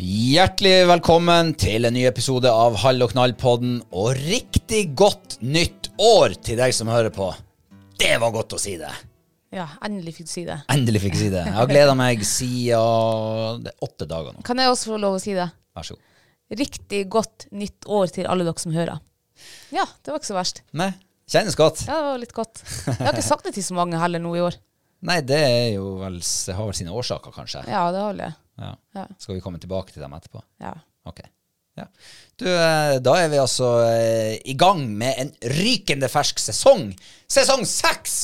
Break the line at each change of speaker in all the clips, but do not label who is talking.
Hjertelig velkommen til en ny episode av Hall og knall-podden, og riktig godt nytt år til deg som hører på. Det var godt å si det!
Ja, endelig fikk du si det.
Endelig fikk jeg si det. Jeg har gleda meg siden det er åtte dager nå.
Kan jeg også få lov å si det?
Vær så god.
Riktig godt nytt år til alle dere som hører. Ja, det var ikke så verst.
Nei, kjennes godt.
Ja, det var litt godt. Jeg har ikke sagt det til så mange heller nå i år.
Nei, det er jo vel, det har vel sine årsaker, kanskje.
Ja, det har jeg.
Ja.
Ja.
Skal vi komme tilbake til dem etterpå?
Ja.
Ok. Ja. Du, eh, da er vi altså eh, i gang med en rykende fersk sesong. Sesong seks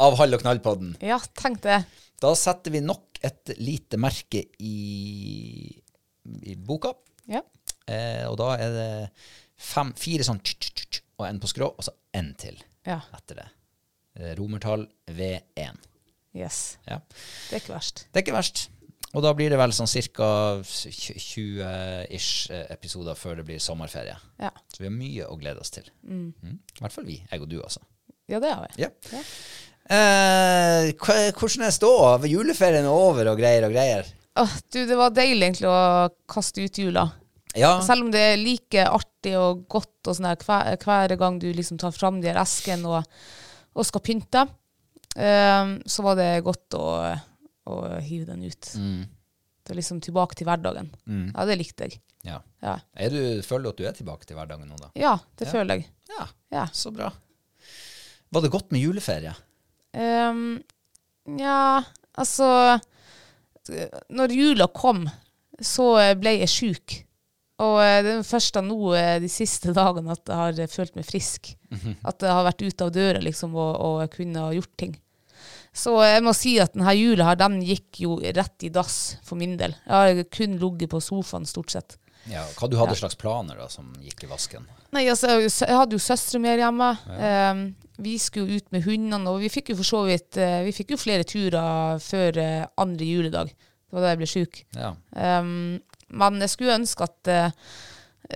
av Hall og knall-podden.
ja, tenk det.
Da setter vi nok et lite merke i, i boka.
Ja.
Eh, og da er det fem, fire sånn tsk, tsk, tsk, og en på skrå, og så en til
Ja.
etter det. Eh, Romertall V1.
Yes.
Ja.
Det er ikke verst.
Det er ikke verst. Og da blir det vel sånn ca. 20-ish episoder før det blir sommerferie.
Ja,
Så vi har mye å glede oss til. Mm. I hvert fall vi. Jeg og du, altså.
ja det har vi.
Ja. Eh, hva- hvordan er ståa? Juleferien er over og greier og greier.
Åh, du, det var deilig egentlig å kaste ut jula.
Ja.
Selv om det er like artig og godt og sånn her hver, hver gang du liksom tar fram de her esken og, og skal pynte, ehm, så var det godt å, å hive den ut. Det er liksom tilbake til hverdagen. Ja, det likte jeg.
ja.
Ja,
Er du, føler du at du er tilbake til hverdagen nå, da?
ja det føler jeg.
Ja.
Ja.
Så bra. Var det godt med juleferie?
Ehm, ja, altså eh, Når jula kom, så eh, ble jeg sjuk. Og eh, det er først da nå eh, de siste dagene at jeg har eh, følt meg frisk. At jeg har vært ute av døra liksom, og, og kunne ha gjort ting. Så eh, jeg må si at denne jula her, den gikk jo rett i dass for min del. Jeg har kun ligget på sofaen stort sett.
Ja. Hva du hadde slags planer da, som gikk i vasken?
Nei, altså, jeg har jo sø- jeg hadde jo søstre mer hjemme. Ehm, vi skulle jo ut med hundene, og vi fikk jo for så vidt eh, Vi fikk jo flere turer før eh, andre juledag. Det var da jeg ble sjuk.
Ja.
Ehm, men jeg skulle ønske at eh,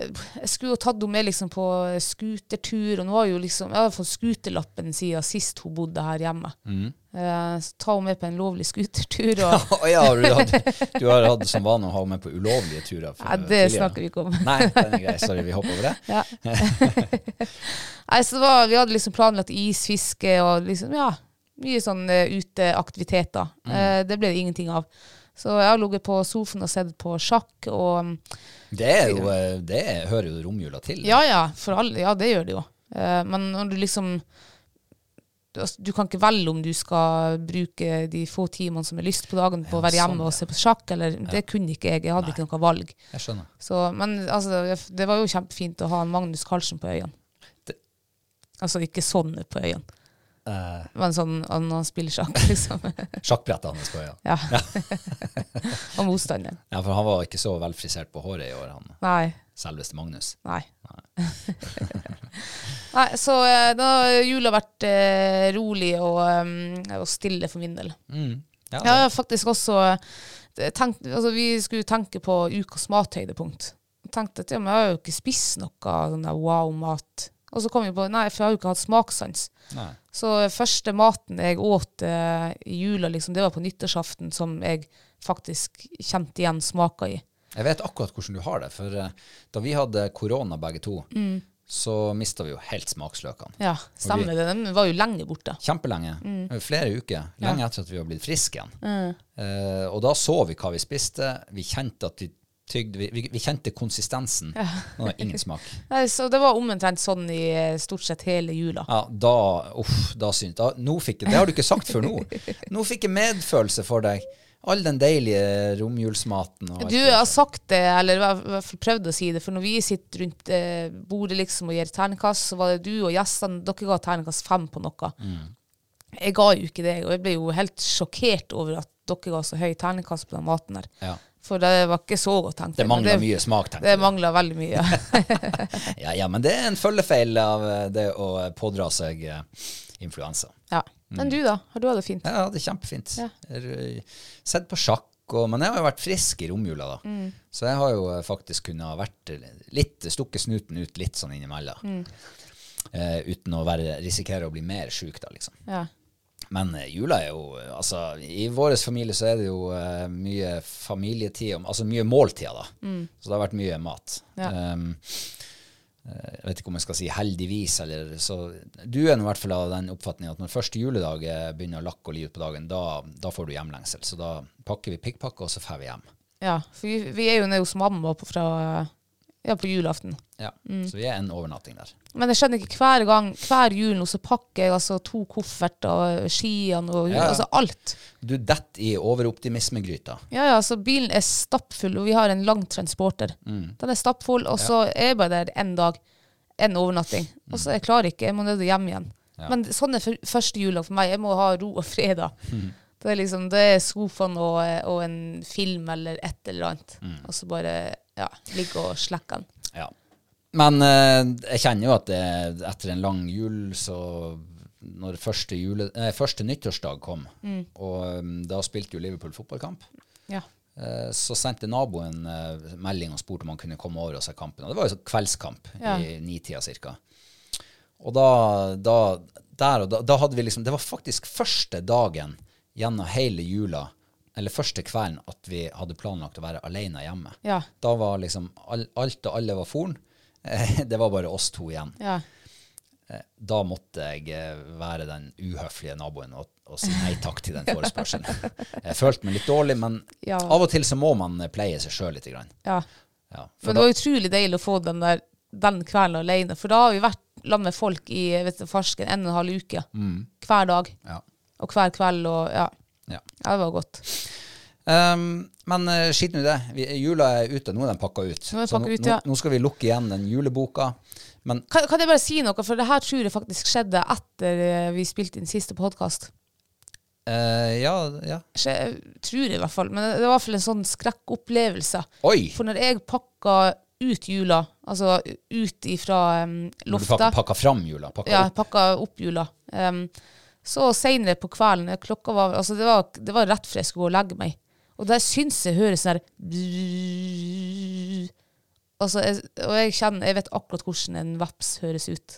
Jeg skulle jo tatt henne med liksom på skutertur, og nå har jeg jo liksom Jeg har fått skuterlappen siden sist hun bodde her hjemme. Eh, så ta henne med på en lovlig skutertur, og
Å ja, har du, hatt, du har hatt som vane å ha med på ulovlige turer? fra
Nei, det
tidligere?
snakker vi ikke om.
Nei, den er grei. Sorry, vi hopper over det.
Ja. Nei, så det var, vi hadde liksom planlagt isfiske og liksom, ja, mye sånn eh, uteaktiviteter.
Mm.
Eh, det ble det ingenting av. Så jeg har ligget på sofaen og sett på sjakk og mm,
Det, er jo, eh, det hører jo romjula til.
Ja ja, for alle, ja, det gjør det jo. Eh, men når du liksom du- altså, du kan ikke velge om du skal bruke de få timene som er lyst på dagen på å være
Ja, sånn,
hjemme og se på sjakk, eller Det kunne ikke jeg. Jeg hadde ikke noe valg.
Jeg skjønner.
Så, men altså, det- det var jo kjempefint å ha en Magnus Carlsen på øynene.
Det-
Altså ikke sånn på øynene,
Eh,
men sånn at når han spiller sjakk, liksom.
Sjakkbrettet hans på øya.
ja. Og motstanderen.
Ja, for han var ikke så velfrisert på håret i år, han
Nei.
selveste Magnus.
Nei. Nei, så eh, da har jula vært eh, rolig og, eh, og stille for min del.
Mm. Ja,
Jeg har faktisk også eh, tenkt, altså Vi skulle tenke på ukas mathøydepunkt. Jeg tenkte at ja, men jeg har jo ikke spist noe sånn der wow-mat. Og så kom vi på nei, for jeg har jo ikke hatt smakssans.
Nei.
Så første maten jeg åt eh, i jula, liksom, det var på nyttårsaften, som jeg faktisk kjente igjen smaka i. Mm.
Jeg vet akkurat hvordan du har det, for eh, da vi hadde korona begge to, så mista vi jo helt smaksløkene.
Ja, stemmer det. De var jo lenge borte.
Kjempelenge.
Mm.
Eh, Flere uker. Lenge etter at vi var blitt friske igjen. Eh, og da så vi hva vi spiste. Vi kjente at vi tygde Vi, vi, vi kjente konsistensen. Nå er det ingen smak.
Nei, Så det var omtrent sånn i eh, stort sett hele jula.
Ja, da Uff, da syns da, Nå fikk jeg Det har du ikke sagt før nå. Nå fikk jeg medfølelse for deg. All den deilige romjulsmaten. og alt
Du
det.
har sagt det, eller i hvert- i hvert fall prøvd å si det, for når vi sitter rundt eh, bordet liksom og gir terningkast, så var det du og gjestene, dere ga terningkast fem på noe.
Mm.
Jeg ga jo ikke det, og jeg ble jo helt sjokkert over at dere ga så høy terningkast på den maten der.
Ja.
For det var ikke så godt tenkt.
Det
men
mangler mye smak, tenker
Det
du.
mangler veldig mye.
Ja, ja, men det er en følgefeil av eh, det å pådra seg eh, influensa.
ja.
Mm.
Men du da, har du hatt det fint?
Jeg hadde det kjempefint.
Ja.
Jeg har Sett på sjakk. Og, men jeg har jo vært frisk i romjula, da. Så jeg har jo eh, faktisk kunnet ha vært eh, litt, stukket snuten ut litt sånn innimellom. Eh, uten å være, risikere å bli mer sjuk, da, liksom.
Ja.
Men eh, jula er jo eh, Altså, i vår familie så er det jo eh, mye familietid, om- altså mye måltider, da. Så det har vært mye mat.
Ja.
Um, eh, jeg vet ikke om jeg skal si heldigvis, eller så Du er nå i hvert fall av den oppfatning at når første juledag eh, begynner å lakke og li ut på dagen, da, da får du hjemlengsel. Så da pakker vi pikkpakke, og så drar vi hjem.
Ja, for vi, vi er jo nede hos mamma på, fra, ja, på julaften.
Ja. Så vi er en overnatting der.
Men jeg skjønner ikke, hver gang, hver jul nå så pakker jeg altså to kofferter, skiene og
Ja.
altså alt.
Du detter i overoptimismegryta.
Ja, ja, så bilen er stappfull, og vi har en lang transporter.
Mm.
Den er stappfull, og så er jeg bare der en dag, en overnatting. Og så jeg klarer ikke, jeg må ned og hjem igjen. Men sånn er fyr- første jula for meg, jeg må ha ro og fredag.
Mm.
Det er liksom, det er sofaen og, og en film eller et eller annet.
Mm.
Og så bare, ja, ligge og slekke den.
Ja. Men eh, jeg kjenner jo at det, etter en lang jul, så når første, jule, nei, første nyttårsdag kom, og eh, da spilte jo Liverpool fotballkamp,
Ja.
eh, så sendte naboen eh, melding og spurte om han kunne komme over og se kampen. Og det var jo så kveldskamp
Ja.
i nitida cirka. Og da, da, der og da, da hadde vi liksom Det var faktisk første dagen gjennom hele jula, eller første kvelden, at vi hadde planlagt å være alene hjemme.
Ja.
Da var liksom all, alt og alle var foren. Eh, Det var bare oss to igjen.
Ja.
Da måtte jeg eh, være den uhøflige naboen og, og si nei takk til den forespørselen. Jeg følte meg litt dårlig, men
Ja.
av og til så må man eh, pleie seg sjøl lite grann.
ja.
Ja, for
Men det var utrolig deilig å få den der den kvelden alene, for da har vi vært sammen med folk i vet du, farsken en og en halv uke.
Mm.
Hver dag
da,
og hver kveld og ja.
ja, ja.
ja det var godt.
Um, men eh, skitt nå i det. Vi, jula er ute. Nå er den pakka ut.
Nå er den
Så
pakka ut,
nå,
ja.
nå skal vi lukke igjen den juleboka. Men
Kan, kan jeg bare si noe, for det her tror jeg faktisk skjedde etter eh, vi spilte inn siste podkast.
eh, ja, ja.
Tror jeg i hvert fall, men det var i hvert fall en sånn skrekkopplevelse.
Oi!
For når jeg pakka ut jula, altså ut ifra em,
Når du
loftet
pakka, pakka fram jula. Pakka
Ja,
opp.
pakka opp jula. Em, så seinere på kvelden, klokka var Altså, det var, det var rett før jeg skulle gå og legge meg. Og der syns jeg høres sånn her Altså, jeg, og jeg kjenner Jeg vet akkurat hvordan en veps høres ut.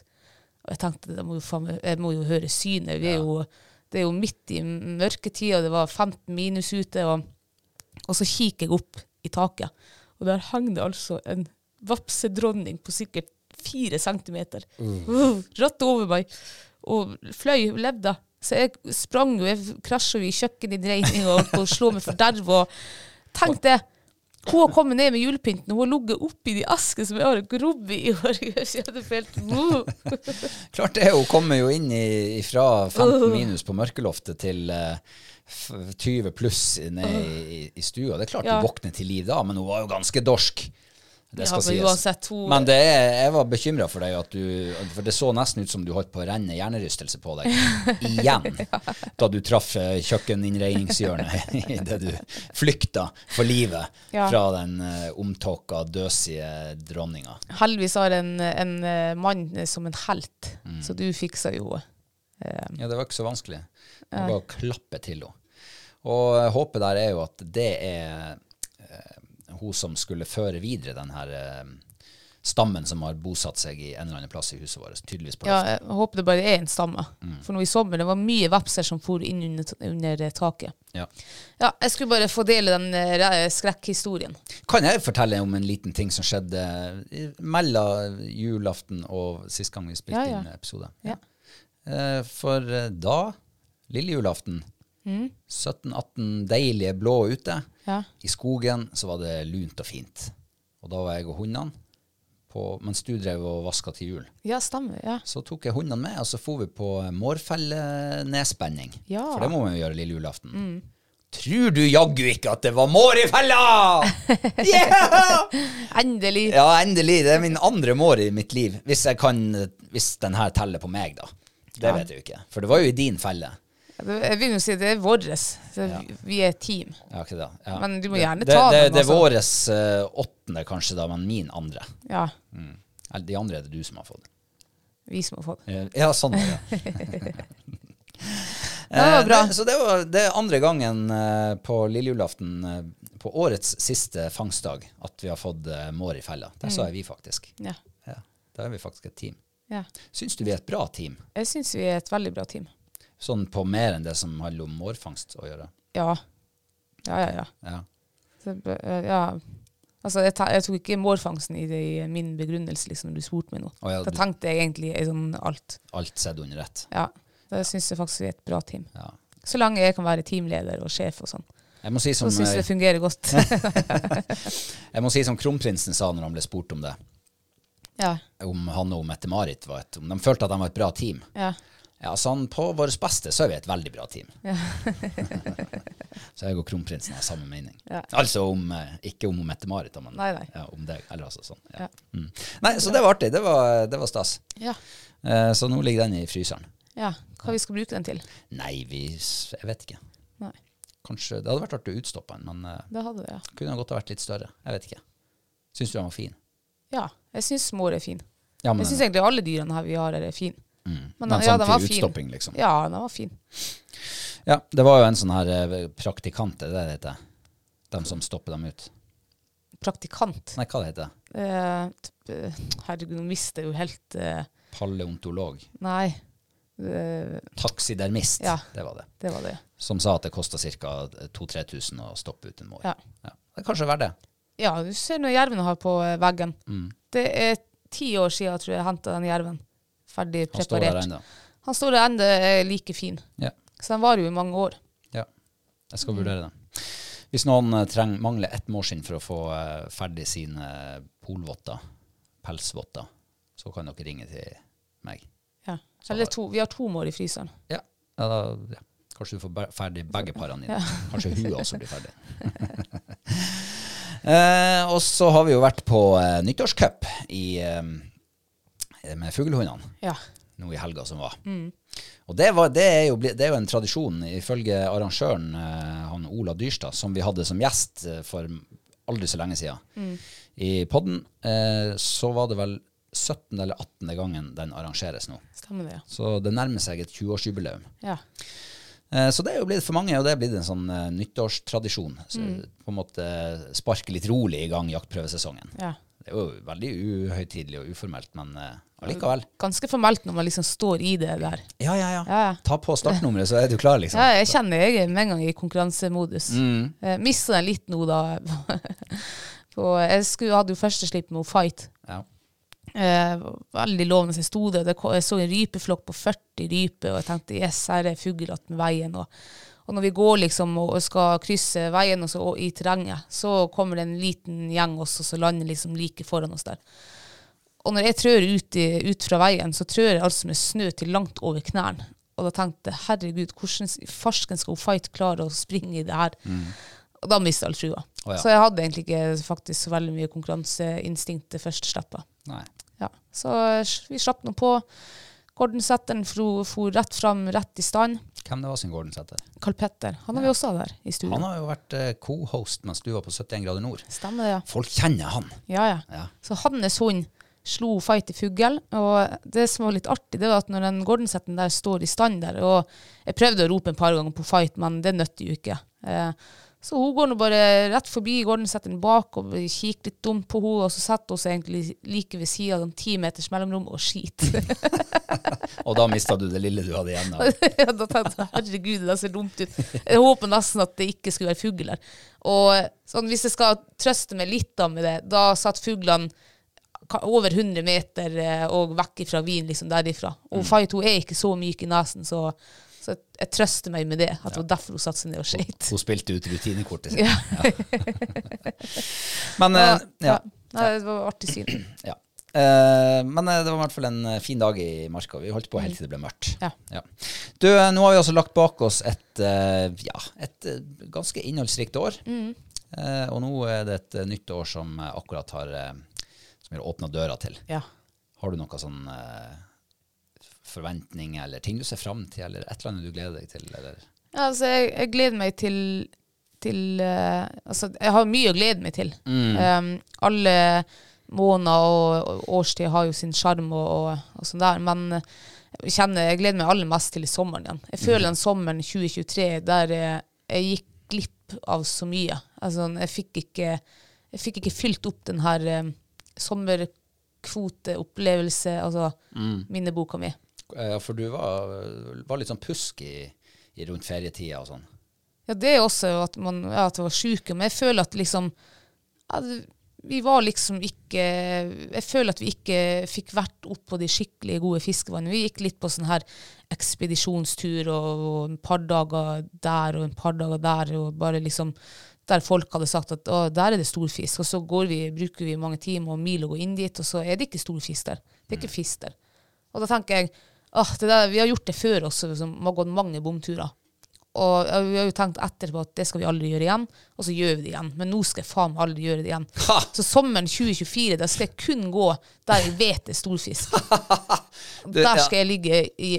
Og jeg tenkte det må jo, faen, meg- jeg må jo høre synet. Vi er jo, det er jo midt i mørketida, det var 15 minus ute, og, og så kikker jeg opp i taket, og der hang det altså en vapsedronning på sikkert fire centimeter.
Mm.
Uh, rett over meg. Og fløy og levde. Så jeg sprang jo, jeg krasja i kjøkkeninnredninga og, og slo meg forderv. Og tenk det! Hun har kommet ned med julepynten, hun har ligget oppi de askene som jeg har grodd i år. Jeg hadde følt uh.
Klart det, hun kommer jo inn i, fra 15 minus på mørkeloftet til eh, f- 20 pluss ned i, i- i stua. Det er klart
Ja.
hun våkner til liv da, men hun var jo ganske dorsk.
Ja,
Det skal
men
sies.
uansett, hun-
Men det er, jeg var bekymra for deg, at du, for det så nesten ut som du holdt på å renne hjernerystelse på deg igjen da du traff eh, kjøkkeninnredningshjørnet idet du flykta for livet
Ja.
fra den uh, omtåka, døsige dronninga.
Heldigvis har en, en eh, mann som en helt, så du fiksa jo eh,
Ja, det var ikke så vanskelig. Det var bare å klappe til henne. Og håpet der er jo at det er eh, hun som skulle føre videre den her eh, stammen som har bosatt seg i en eller annen plass i huset vårt. Tydeligvis på Mm.
Ja,
loftet.
jeg håper det bare er en stamme. For nå i sommer det var mye vepser som for inn under, under eh, taket.
Ja.
Ja, jeg skulle bare få dele den eh, re- skrekkhistorien.
Kan jeg fortelle om en liten ting som skjedde i- mellom julaften og sist gang vi spilte
Ja, ja.
inn episode?
Ja.
Eh, For eh, da, lille julaften,
Mm.
17-18 deilige blå ute,
Ja.
i skogen så var det lunt og fint. Og da var jeg og hundene, på, mens du drev og vaska til jul.
Ja, stemmer. Ja.
Så tok jeg hundene med, og så for vi på mårfellenedspenning.
Ja. Mm.
For det må man jo gjøre lille julaften. Tror du jaggu ikke at det var mår i fella?! Yeah!
Endelig.
Ja, endelig. Det er min andre mår i mitt liv. Hvis, jeg kan, hvis den her teller på meg, da. Det vet jeg jo ikke. For det var jo i din felle.
Det- Jeg vil jo si det er våres. Så vi- Vi er et team.
Ja, ikke det? Ja.
Men du må gjerne
det,
ta
det,
den,
Det er
altså.
våres eh, åttende, kanskje, da, men min andre.
Ja.
Mm. Eller de andre er det du som har fått.
Vi som har fått
Eh, Ja, sånn var det.
Det var bra.
Eh, Så det var det er andre gangen eh, på lille julaften, eh, på årets siste fangstdag, at vi har fått eh, mår i fella. Der
Mm.
sa jeg vi, faktisk.
Ja.
Ja, da er vi faktisk et team.
ja.
Syns du vi er et bra team?
Jeg syns vi er et veldig bra team.
Sånn på mer enn det som handler om mårfangst å gjøre.
Ja. Ja, ja, ja.
Ja.
Så, b- ja. Altså, jeg, ta, jeg tok ikke mårfangsten i, det, i min begrunnelse liksom, når du spurte meg nå.
Å, ja,
da
du-
tenkte jeg egentlig i sånn alt.
Alt sett under ett.
Ja. Da syns jeg faktisk vi er et bra team.
Ja.
Så lenge jeg kan være teamleder og sjef og sånn.
Jeg må si som,
Så syns jeg det
eh,
fungerer godt.
jeg må si som kronprinsen sa når han ble spurt om det,
ja.
om han og Mette-Marit var et Om de følte at de var et bra team.
ja.
Ja, sånn på vårt beste så er vi et veldig bra team. så jeg og kronprinsen har samme mening.
Ja.
Altså om, eh, ikke om Mette-Marit, da, men
Nei, nei.
Ja, om deg. Eller altså sånn. Ja.
Ja.
Mm. Nei, så det var artig. Det var, det var stas.
ja.
Eh, så nå ligger den i fryseren.
ja. Hva vi skal bruke den til?
Nei, vi s- Jeg vet ikke.
Nei.
Kanskje Det hadde vært artig å utstoppe den, men eh,
Det hadde det, ja.
kunne den godt ha vært litt større. Jeg vet ikke. Syns du den var fin?
Ja. Jeg syns mår er fin.
Ja,
Jeg syns egentlig alle dyrene her vi har her, er fine.
mm.
men
men,
ja,
sånn
den var
til
fin.
utstopping, liksom. Ja.
Ja, den var fin.
det var jo en sånn her eh, praktikant, er det det heter? De som stopper dem ut.
Praktikant.
Nei, hva det heter det?
Eh, t- eh, herregud, nå mister jeg jo helt eh,
Paleontolog.
Nei. Eh,
Taksidermist,
Ja.
det var det.
det var det.
Som sa at det kosta ca. 2000-3000 å stoppe ut en mår.
Ja.
Ja. Det er kanskje verdt det.
Ja, du ser noe jerven har på eh, veggen.
Mm.
Det er ti år siden jeg tror jeg henta den jerven. Ferdig
Han står der
preparert.
ennå.
Han står der ennå er like fin.
Ja.
Så den varer jo i mange år.
Ja. Jeg skal vurdere det. Hvis noen eh, treng, mangler ett mårskinn for å få eh, ferdig sine polvotter, pelsvotter, så kan dere ringe til meg.
Ja. Eller to. Vi har to mår i fryseren.
Ja, ja, da, ja. Kanskje du får bæ- ferdig begge parene dine. Kanskje huet også blir ferdig. eh, og så har vi jo vært på eh, nyttårscup i, eh, med fuglehundene
Ja.
nå i helga som var. Og det, var, det, er jo, bli- det er jo en tradisjon ifølge arrangøren, eh, han Ola Dyrstad, som vi hadde som gjest eh, for aldri så lenge siden i podden, eh, så var det vel 17. eller 18. gangen den arrangeres nå.
Stemmer det, ja.
Så det nærmer seg et 20-årsjubileum.
ja.
Eh, Så det er jo blitt for mange, og det er blitt en sånn eh, nyttårstradisjon. Så På en måte eh, sparke litt rolig i gang jaktprøvesesongen.
ja.
Det er jo veldig uhøytidelig og uformelt, men eh, allikevel.
Ganske formelt når man liksom står i det der.
Ja, ja, ja.
Ja, ja.
Ta på startnummeret, så er du klar, liksom.
Ja, jeg kjenner jeg er med en gang i konkurransemodus. Eh, Mista den litt nå, da. På- jeg skulle, hadde jo første slipp med Fight.
Ja.
Eh, veldig lovende. Så jeg sto der, og det ko- jeg så en rypeflokk på 40 ryper, og jeg tenkte yes, her er fugl attmed veien. Og, og når vi går liksom og, og skal krysse veien og så, og, i terrenget, så kommer det en liten gjeng også, så lander liksom like foran oss der. Og når jeg trør ut, i, ut fra veien, så trør jeg altså med snø til langt over knærne. Og da tenkte jeg herregud, hvordan s- farsken skal hun fight klare å springe i det her? Og da mista jeg all trua.
Mm. Å, ja.
Så jeg hadde egentlig ikke faktisk så veldig mye konkurranseinstinkt det første slippet.
Nei.
Ja. Så eh, vi slapp nå på. Gordon Sæteren for, for rett fram, rett i stand.
Hvem det var som Gårdensæter?
Karl Petter, han har vi også der i studio.
Han har jo vært eh, co-host mens du var på 71 grader nord.
Stemmer det, ja.
Folk kjenner han.
Ja, ja.
Ja.
Så hans hund slo fight i fugl, og det som var litt artig, det var at når den Gordonsetten der står i stand der, og jeg prøvde å rope en par ganger på fight, men det nøtte jo ikke. Eh, Så hun går nå bare rett forbi gården, setter den bak og kikker litt dumt på henne, og så setter hun seg egentlig like ved sida av dem ti meters mellomrom og skiter.
Og da mista du det lille du hadde igjen. av-
Ja, da tenkte jeg herregud, det der ser dumt ut. Jeg håper nesten at det ikke skulle være fugl her. Og sånn, hvis jeg skal trøste meg litt da med det, da satt fuglene ka- over 100 meter eh, og vekk ifra vin, liksom derifra. Og Faito er ikke så myk i nesen, så, så jeg, jeg trøster meg med det. At det var derfor hun satte seg ned og skøyt.
Hun spilte ut rutinekortet sitt.
Ja.
Men, eh, ja,
Nei, det var artig syn.
ja. Eh, men eh, det var i hvert fall en eh, fin dag i marka. Vi holdt på helt til det ble mørkt.
Ja.
Du, eh, nå har vi altså lagt bak oss et, eh, ja, et eh, ganske innholdsrikt år. Eh, og nå er det et eh, nytt år som eh, akkurat har eh, som vi har åpna døra til.
Ja.
Har du noen sånn eh, forventning eller ting du ser fram til, eller et eller annet du gleder deg til? Eller?
Ja, altså, jeg, jeg gleder meg til, til eh, Altså, jeg har mye å glede meg til. Eh, alle måneder og, og årstid har jo sin sjarm og, og, og sånn der, men eh, jeg kjenner, jeg gleder meg aller mest til sommeren igjen. Jeg føler den sommeren 2023 der jeg, jeg gikk glipp av så mye. Altså, jeg fikk ikke, jeg fikk ikke fylt opp den her eh, sommerkvoteopplevelse, altså minneboka mi.
Eh, Ja, for du var, var litt sånn pusk i, i rundt ferietida og sånn.
Ja, det er også at, man, ja, at jeg var syk, men jeg føler at liksom ja, det- Vi var liksom ikke Jeg føler at vi ikke fikk vært opp på de skikkelig gode fiskevannene. Vi gikk litt på sånn her ekspedisjonstur og, og en par dager der og en par dager der, og bare liksom der folk hadde sagt at å, der er det stor fisk, og så går vi, bruker vi mange timer og mil å gå inn dit, og så er det ikke stor fisk der. Det er ikke fisk der. Og da tenker jeg åh, det der, vi har gjort det før også, som har gått mange bomturer. Og ja, vi har jo tenkt etterpå at det skal vi aldri gjøre igjen, og så gjør vi det igjen. Men nå skal jeg faen meg aldri gjøre det igjen.
Ha!
Så sommeren 2024, da skal jeg kun gå der jeg vet det er storfisk.
Du,
Der
ja.
skal jeg ligge i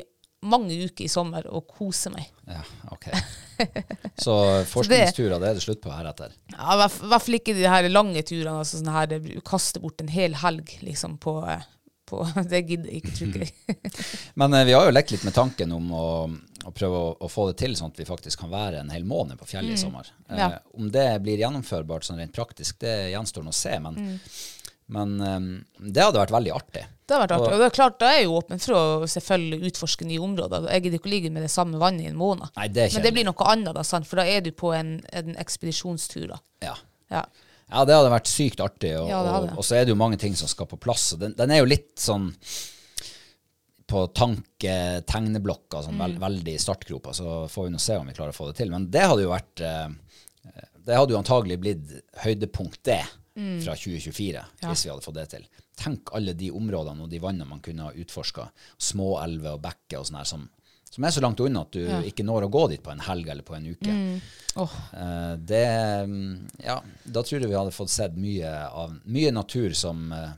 mange uker i sommer og kose meg.
Ja, ok. Så forskningsturer, det er det slutt på heretter.
Ja, I hvert fall- i hvert fall ikke de her lange turene. Altså sånn her, du kaster bort en hel helg liksom på, eh, på Det gidder jeg ikke, tror jeg.
Men eh, vi har jo lekt litt med tanken om å, å prøve å, å få det til sånn at vi faktisk kan være en hel måned på fjellet i sommer. Eh,
Mm. Ja.
om det blir gjennomførbart sånn rent praktisk, det gjenstår nå å se, men,
Mm.
men eh, det hadde vært veldig artig.
Det har vært artig. Og det er klart, da er jeg jo åpen for å selvfølgelig utforske nye områder. Jeg gidder ikke å ligge med det samme vannet i en måned.
Nei, det
Men
kjenner
det
jeg.
blir noe annet, da, sant? for da er du på en, en ekspedisjonstur. da.
Ja.
Ja.
Ja, det hadde vært sykt artig. Og,
Ja, det hadde
og,
det.
og så er det jo mange ting som skal på plass. Og den, den er jo litt sånn på tanke-tegneblokka, sånn
Mm.
vel- veldig i startgropa. Så får vi nå se om vi klarer å få det til. Men det hadde jo vært eh, Det hadde jo antagelig blitt høydepunkt, det,
Mm.
fra 2024, hvis vi hadde fått det til. Tenk alle de områdene og de vannene man kunne ha utforska. Små elver og bekker og sånn her som, som er så langt unna at du ikke når å gå dit på en helg eller på en uke.
Mm. Åh.
Eh, det mm, Ja, da tror jeg vi hadde fått sett mye av mye natur som eh,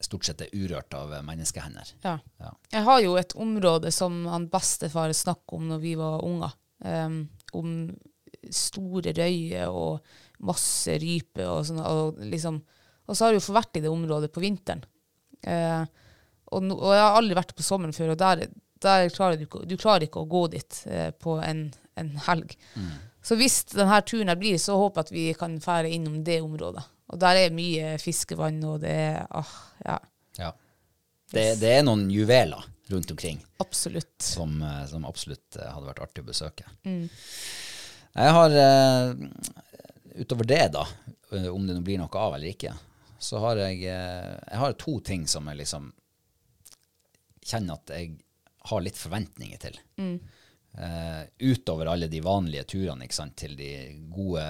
stort sett er urørt av eh, menneskehender.
Ja.
Ja.
Jeg har jo et område som han bestefar snakket om når vi var unger. em, om store røyer og masse rype og sånn. Og, liksom, og så har jeg jo fått vært i det området på vinteren. Eh, og, nå- og jeg har aldri vært på sommeren før, og der, der klarer du, ikke- du klarer ikke å gå dit eh, på en, en helg. Så hvis denne turen her blir, så håper jeg at vi kan fære innom det området. Og der er mye fiskevann, og det er ah, Ja,
Ja. Det, det er noen juveler rundt omkring
absolutt. Mm.
som, eh, som absolutt eh, hadde vært artig å besøke. Jeg har eh, Utover det, da, eh, om det nå blir noe av eller ikke, så har jeg, eh, jeg har to ting som jeg liksom kjenner at jeg har litt forventninger til. Eh, utover alle de vanlige turene ikke sant, til de gode,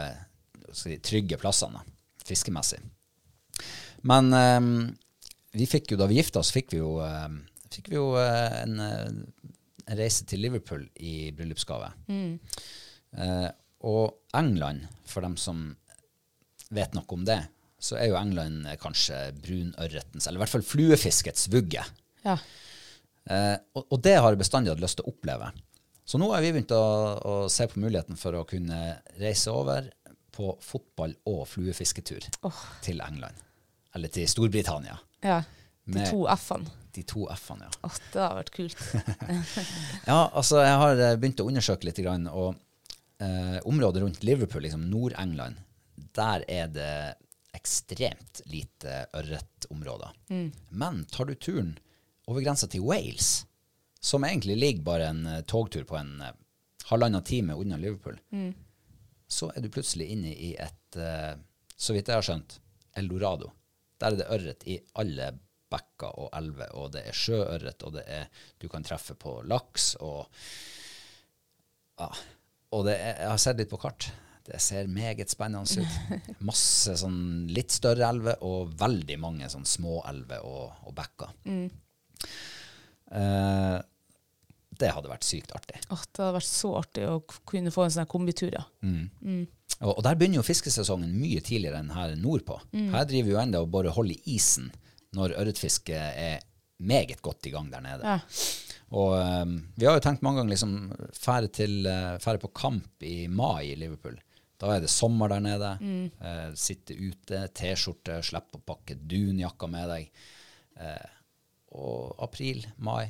hva skal jeg si, trygge plassene fiskemessig. Men eh, vi fikk jo, da vi gifta oss, fikk vi jo, eh, fikk vi jo eh, en, eh, en reise til Liverpool i bryllupsgave.
Mm.
Eh, og England, for dem som vet noe om det, så er jo England eh, kanskje brunørretens, eller i hvert fall fluefiskets vugge.
Ja.
Eh, og, og det har jeg bestandig hatt lyst til å oppleve. Så nå har vi begynt å, å se på muligheten for å kunne reise over på fotball- og fluefisketur til England. Eller til Storbritannia.
Ja. De
Med-
to F-ene.
De to F-ene, ja.
Åh, det har vært kult.
Ja, altså, jeg har eh, begynt å undersøke litt, grann, og eh, området rundt Liverpool, liksom Nord-England, der er det ekstremt lite ørretområder.
Mm,
Men tar du turen over grensa til Wales, som egentlig ligger bare en eh, togtur på en eh, halvannen time unna Liverpool,
mm.
så er du plutselig inne i et, eh, så vidt jeg har skjønt, Eldorado. Der er det ørret i alle bekker og elver, og det er sjøørret, og det er, du kan treffe på laks, og, ja, og det er, jeg har sett litt på kart. Det ser meget spennende ut. Masse sånn litt større elver, og veldig mange sånn små elver og, og bekker. Eh, det hadde vært sykt artig.
Åh, det hadde vært så artig å k- kunne få en sånn her kombitur, ja.
Mm. Og, og der begynner jo fiskesesongen mye tidligere enn her nordpå. Her driver vi jo enda og bare holder i isen når ørretfisket er meget godt i gang der nede.
Ja.
Og eh, vi har jo tenkt mange ganger liksom fære, til, eh, fære på kamp i mai i Liverpool. Da er det sommer der nede. Eh, sitte ute, T-skjorte, slippe å pakke dunjakka med deg. Eh, og april, mai,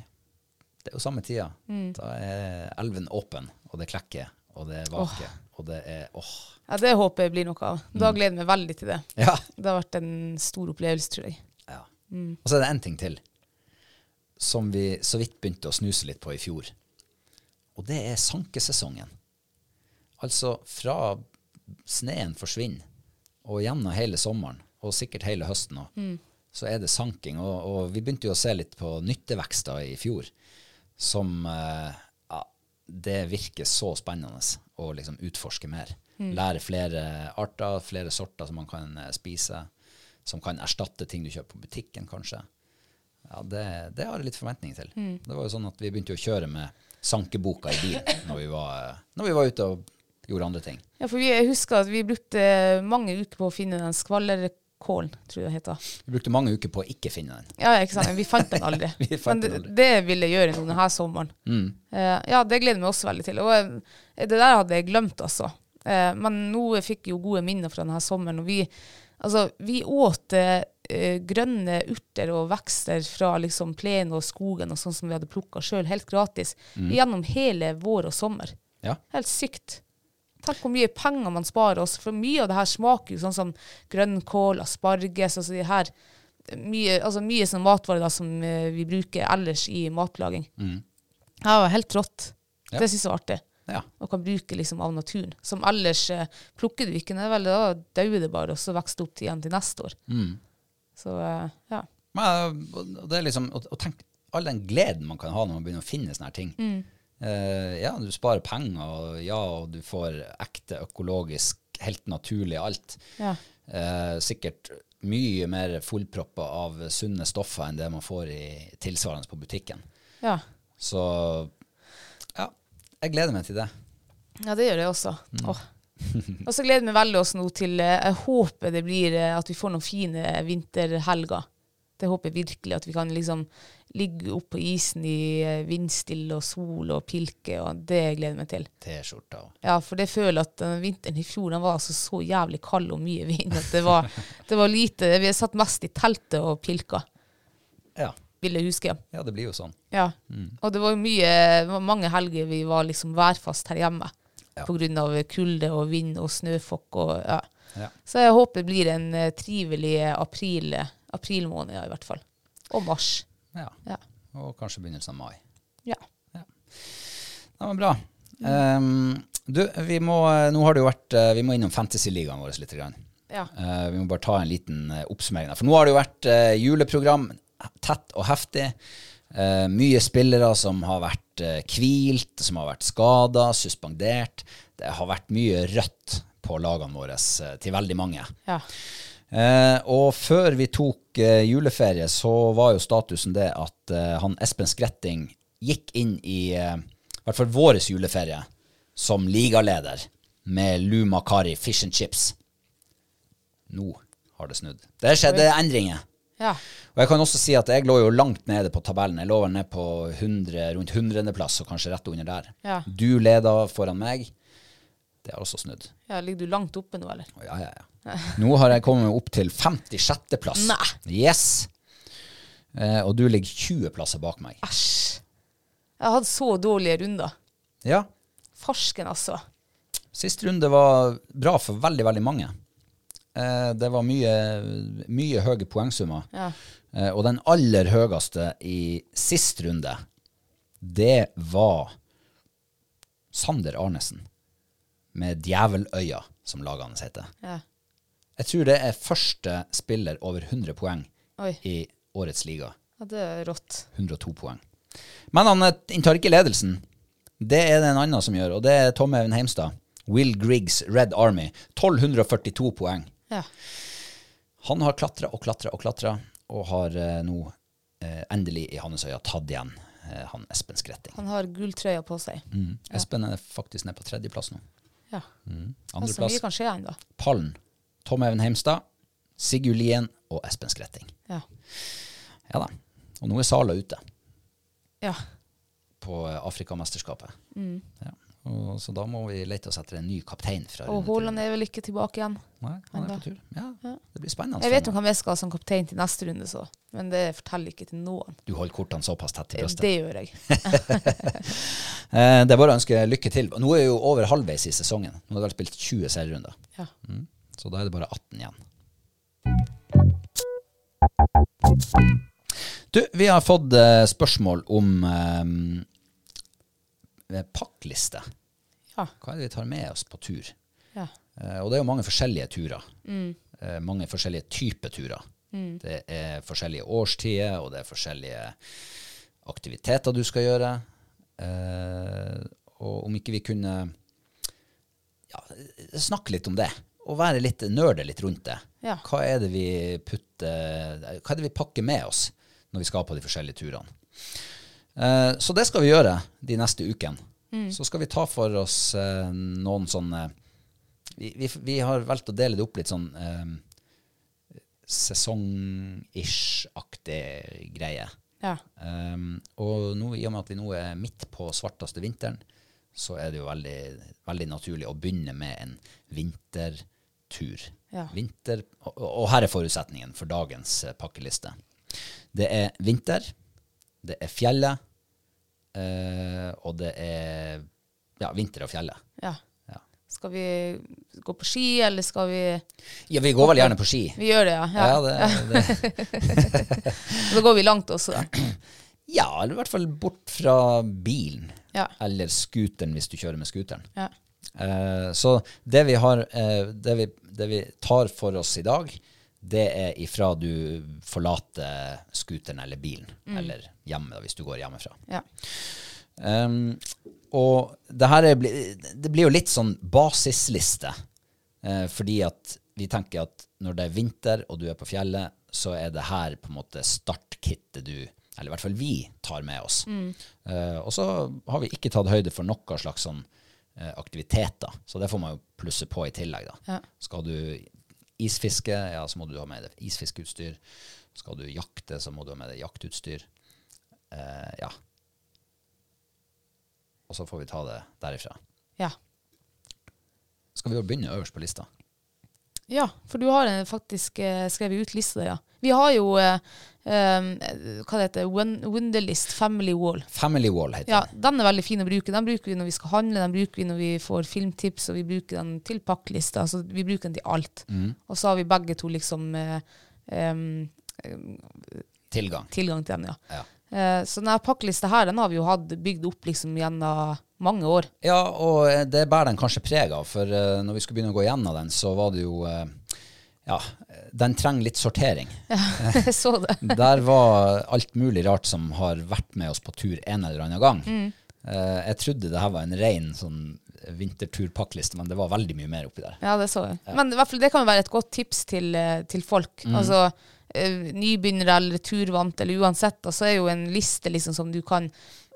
det er jo samme tida. Da er elven åpen, og det klekker, og det vaker, og det er åh.
ja, det håper jeg blir noe av. Da gleder jeg meg veldig til det.
Ja.
Det har vært en stor opplevelse, tror jeg.
ja. Og så er det en ting til som vi så vidt begynte å snuse litt på i fjor. Og det er sankesesongen. Altså fra sneen forsvinner og gjennom hele sommeren og sikkert hele høsten òg, så er det sanking. Og, og vi begynte jo å se litt på nyttevekster i fjor som eh, ja, Det virker så spennende å liksom utforske mer. Lære flere arter, flere sorter som man kan eh, spise. Som kan erstatte ting du kjøper på butikken, kanskje. Ja, Det, det har jeg litt forventninger til. Det var jo sånn at Vi begynte jo å kjøre med sankeboka i bilen når vi var, eh, når vi var ute og gjorde andre ting.
Ja, for vi, jeg husker at vi brukte mange uker på å finne den skvallerkålen, tror jeg det heter.
Vi brukte mange uker på å ikke finne den.
Ja, ja, ikke sant? Men Vi fant den aldri.
Vi fant
Men det,
den aldri. Mm.
det vil jeg gjøre nå denne sommeren. Eh, ja, det gleder jeg meg også veldig til. Og eh, det der hadde jeg glemt, altså. Eh, men nå fikk jeg jo gode minner fra denne sommeren. Og vi, altså, vi åt eh, eh, grønne urter og vekster fra liksom plenen og skogen og sånn som vi hadde plukka sjøl, helt gratis,
Mm.
gjennom hele vår og sommer.
Ja,
Helt sykt. Tenk hvor mye penger man sparer oss. For mye av det her smaker jo sånn som grønnkål, asparges, altså de her mye, altså mye sånn matvarer da, som eh, vi bruker ellers i matlaging. Ja, det var helt rått.
Ja.
Det syns jeg var artig.
Mm. ja.
Og kan bruke liksom av naturen. Som ellers eh, plukker du ikke, det er vel da dauer det bare, og så vokser det opp til igjen til neste år.
Mm.
Så eh, ja.
Men, og det er liksom, og, og tenk all den gleden man kan ha når man begynner å finne sånne her ting. Eh, ja, du sparer penger, og ja, og du får ekte økologisk, helt naturlig alt.
Ja.
Eh, sikkert mye mer fullproppa av sunne stoffer enn det man får i tilsvarende på butikken.
ja.
Så ja, jeg gleder meg til det.
Ja, det gjør jeg også. Åh. Og så gleder jeg meg veldig også nå til eh, Jeg håper det blir eh, at vi får noen fine vinterhelger. Det håper jeg virkelig. At vi kan liksom ligge oppe på isen i eh, vindstille og sol og pilke. og Det gleder jeg meg til.
T-skjorta og
Ja, for det føler jeg at den vinteren i fjor den var altså så jævlig kald og mye vind at det var, det var lite Vi satt mest i teltet og pilka,
ja,
vil jeg huske.
ja, det blir jo sånn.
Ja. Og det var jo mye, det var mange helger vi var liksom værfast her hjemme.
Ja.
På grunn av kulde og vind og snøfokk og ja.
Ja.
Så jeg håper det blir en eh, trivelig april, aprilmåned, ja, i hvert fall. Og mars.
Ja.
Ja.
Og kanskje begynnelsen av mai.
ja.
Ja, men bra. Ehm, du, vi må, nå har det jo vært, eh, vi må innom fantasyligaen vår litt. Grann.
Ja.
Eh, vi må bare ta en liten eh, oppsummering. der. For nå har det jo vært eh, juleprogram, tett og heftig. Eh, mye spillere som har vært eh, hvilt, som har vært skada, suspendert. Det har vært mye rødt på lagene våre eh, til veldig mange.
ja.
Eh, og før vi tok eh, juleferie, så var jo statusen det at eh, han Espen Skretting gikk inn i eh, i hvert fall vår juleferie som ligaleder med Luma Kari Fish and Chips. Nå har det snudd. Det skjedde endringer.
Ja.
Og jeg kan også si at jeg lå jo langt nede på tabellen. Jeg lå vel ned på 100, rundt 100. plass, og kanskje rett under der.
Ja.
Du leda foran meg. Det har også snudd.
ja. Ligger du langt oppe nå, eller?
Å, Ja, ja, ja. Nå har jeg kommet meg opp til 56. plass.
Nei.
Yes. Eh, og du ligger 20 plasser bak meg.
Æsj. Jeg har hatt så dårlige runder.
Ja.
Farsken, altså.
Siste runde var bra for veldig, veldig mange. Eh, det var mye, mye høye poengsummer.
Ja.
Eh, og den aller høyeste i sist runde, det var Sander Arnesen med Djeveløya, som laget hans heter.
ja.
Jeg tror det er første spiller over 100 poeng
Oi.
i årets liga.
Ja, det er rått.
102 poeng. Men han eh, inntar ikke ledelsen. Det er det en annen som gjør, og det er Tom Even Heimstad. Will Griggs Red Army. 1242 poeng.
Ja.
Han har klatra og klatra og klatra, og har eh, nå eh, endelig i Hannesøya tatt igjen eh, han Espen Skretting.
Han har gulltrøya på seg.
Mm. Espen er faktisk nede på tredjeplass nå.
Ja.
Mm.
Altså, mye
Andreplass
kan skje ennå.
Pallen. Tom Even Heimstad, Sigurd Lien og Espen Skretting.
Ja.
Ja da. Og nå er Sala ute.
ja.
på eh, Afrikamesterskapet.
Mm.
Ja. Og, så da må vi lete oss etter en ny kaptein. fra runde
Og
til
Haaland
runde.
er vel ikke tilbake igjen.
Nei, han er
enda.
på tur. Ja, Det blir spennende.
Jeg vet jo hvem jeg skal ha som kaptein til neste runde, så. Men det forteller ikke til noen.
Du holder kortene såpass tett til
Det,
brystet.
det gjør jeg.
Eh, det er bare å ønske lykke til. Nå er jo over halvveis i sesongen. Nå har det vel spilt 20 serierunder.
Ja.
Mm. Så da er det bare 18 igjen. Du, vi har fått eh, spørsmål om eh, pakkliste.
Ja.
Hva er det vi tar med oss på tur?
ja.
Eh, og det er jo mange forskjellige turer. Eh, mange forskjellige typer turer. Det er forskjellige årstider, og det er forskjellige aktiviteter du skal gjøre. Eh, og om ikke vi kunne ja, snakke litt om det, og være litt nerde litt rundt det.
Ja.
Hva er det vi putter Hva er det vi pakker med oss når vi skal på de forskjellige turene? Eh, Så det skal vi gjøre de neste ukene. Så skal vi ta for oss eh, noen sånne vi, vi, vi har valgt å dele det opp litt sånn eh, sesong-ish-aktig greie.
ja.
Um, og nå, i og med at vi nå er midt på svarteste vinteren, så er det jo veldig, veldig naturlig å begynne med en vintertur.
Ja.
Vinter, og, og her er forutsetningen for dagens eh, pakkeliste. Det er vinter, det er fjellet, eh, og det er ja, vinter og fjellet. Ja.
ja. Skal vi gå på ski, eller skal vi
ja, vi går vel gjerne på ski.
Vi gjør det, ja.
Ja,
ja.
det, det,
Da går vi langt også.
ja, eller i hvert fall bort fra bilen.
Ja.
Eller scooteren, hvis du kjører med scooteren.
Ja.
Eh, så det vi, har, eh, det, vi, det vi tar for oss i dag, det er ifra du forlater scooteren eller bilen, eller hjemme, da, hvis du går hjemmefra.
ja.
Ehm, og det her er, bli- det blir jo litt sånn basisliste, eh, fordi at vi tenker at når det er vinter og du er på fjellet, så er det her på en måte startkittet du, eller i hvert fall vi, tar med oss. Eh, og så har vi ikke tatt høyde for noe slags sånn eh, aktiviteter, så det får man jo plusse på i tillegg da.
Ja.
Skal du isfiske, ja, så må du ha med deg isfiskeutstyr. Skal du jakte, så må du ha med deg jaktutstyr. Eh, ja, og så får vi ta det derifra.
ja.
Skal vi jo begynne øverst på lista?
Ja, for du har en faktisk eh, skrevet ut lista, ja. Vi har jo eh, um, eh, hva det heter Won- Wunderlist Family Wall.
Family Wall heter
Ja,
den.
Den er veldig fin å bruke. Den bruker vi når vi skal handle, den bruker vi når vi får filmtips, og vi bruker den til pakkelista. Så vi bruker den til alt. Og så har vi begge to liksom eh, em,
Tilgang.
tilgang til den, ja.
Ja.
Eh, så denne pakkelista her, den har vi jo hatt bygd opp liksom gjennom mange år.
ja, og eh, det bærer den kanskje preg av, for eh, når vi skulle begynne å gå gjennom den, så var det jo eh, Ja, eh, den trenger litt sortering.
Jeg så det.
Der var alt mulig rart som har vært med oss på tur en eller annen gang.
Mm.
Eh, jeg trodde det her var en ren sånn vinterturpakkliste, men det var veldig mye mer oppi der.
Ja, det så jeg. Men i hvert fall, det kan jo være et godt tips til, eh, til folk. Altså, eh, nybegynnere eller turvant eller uansett, da, så er jo en liste liksom, som, du kan,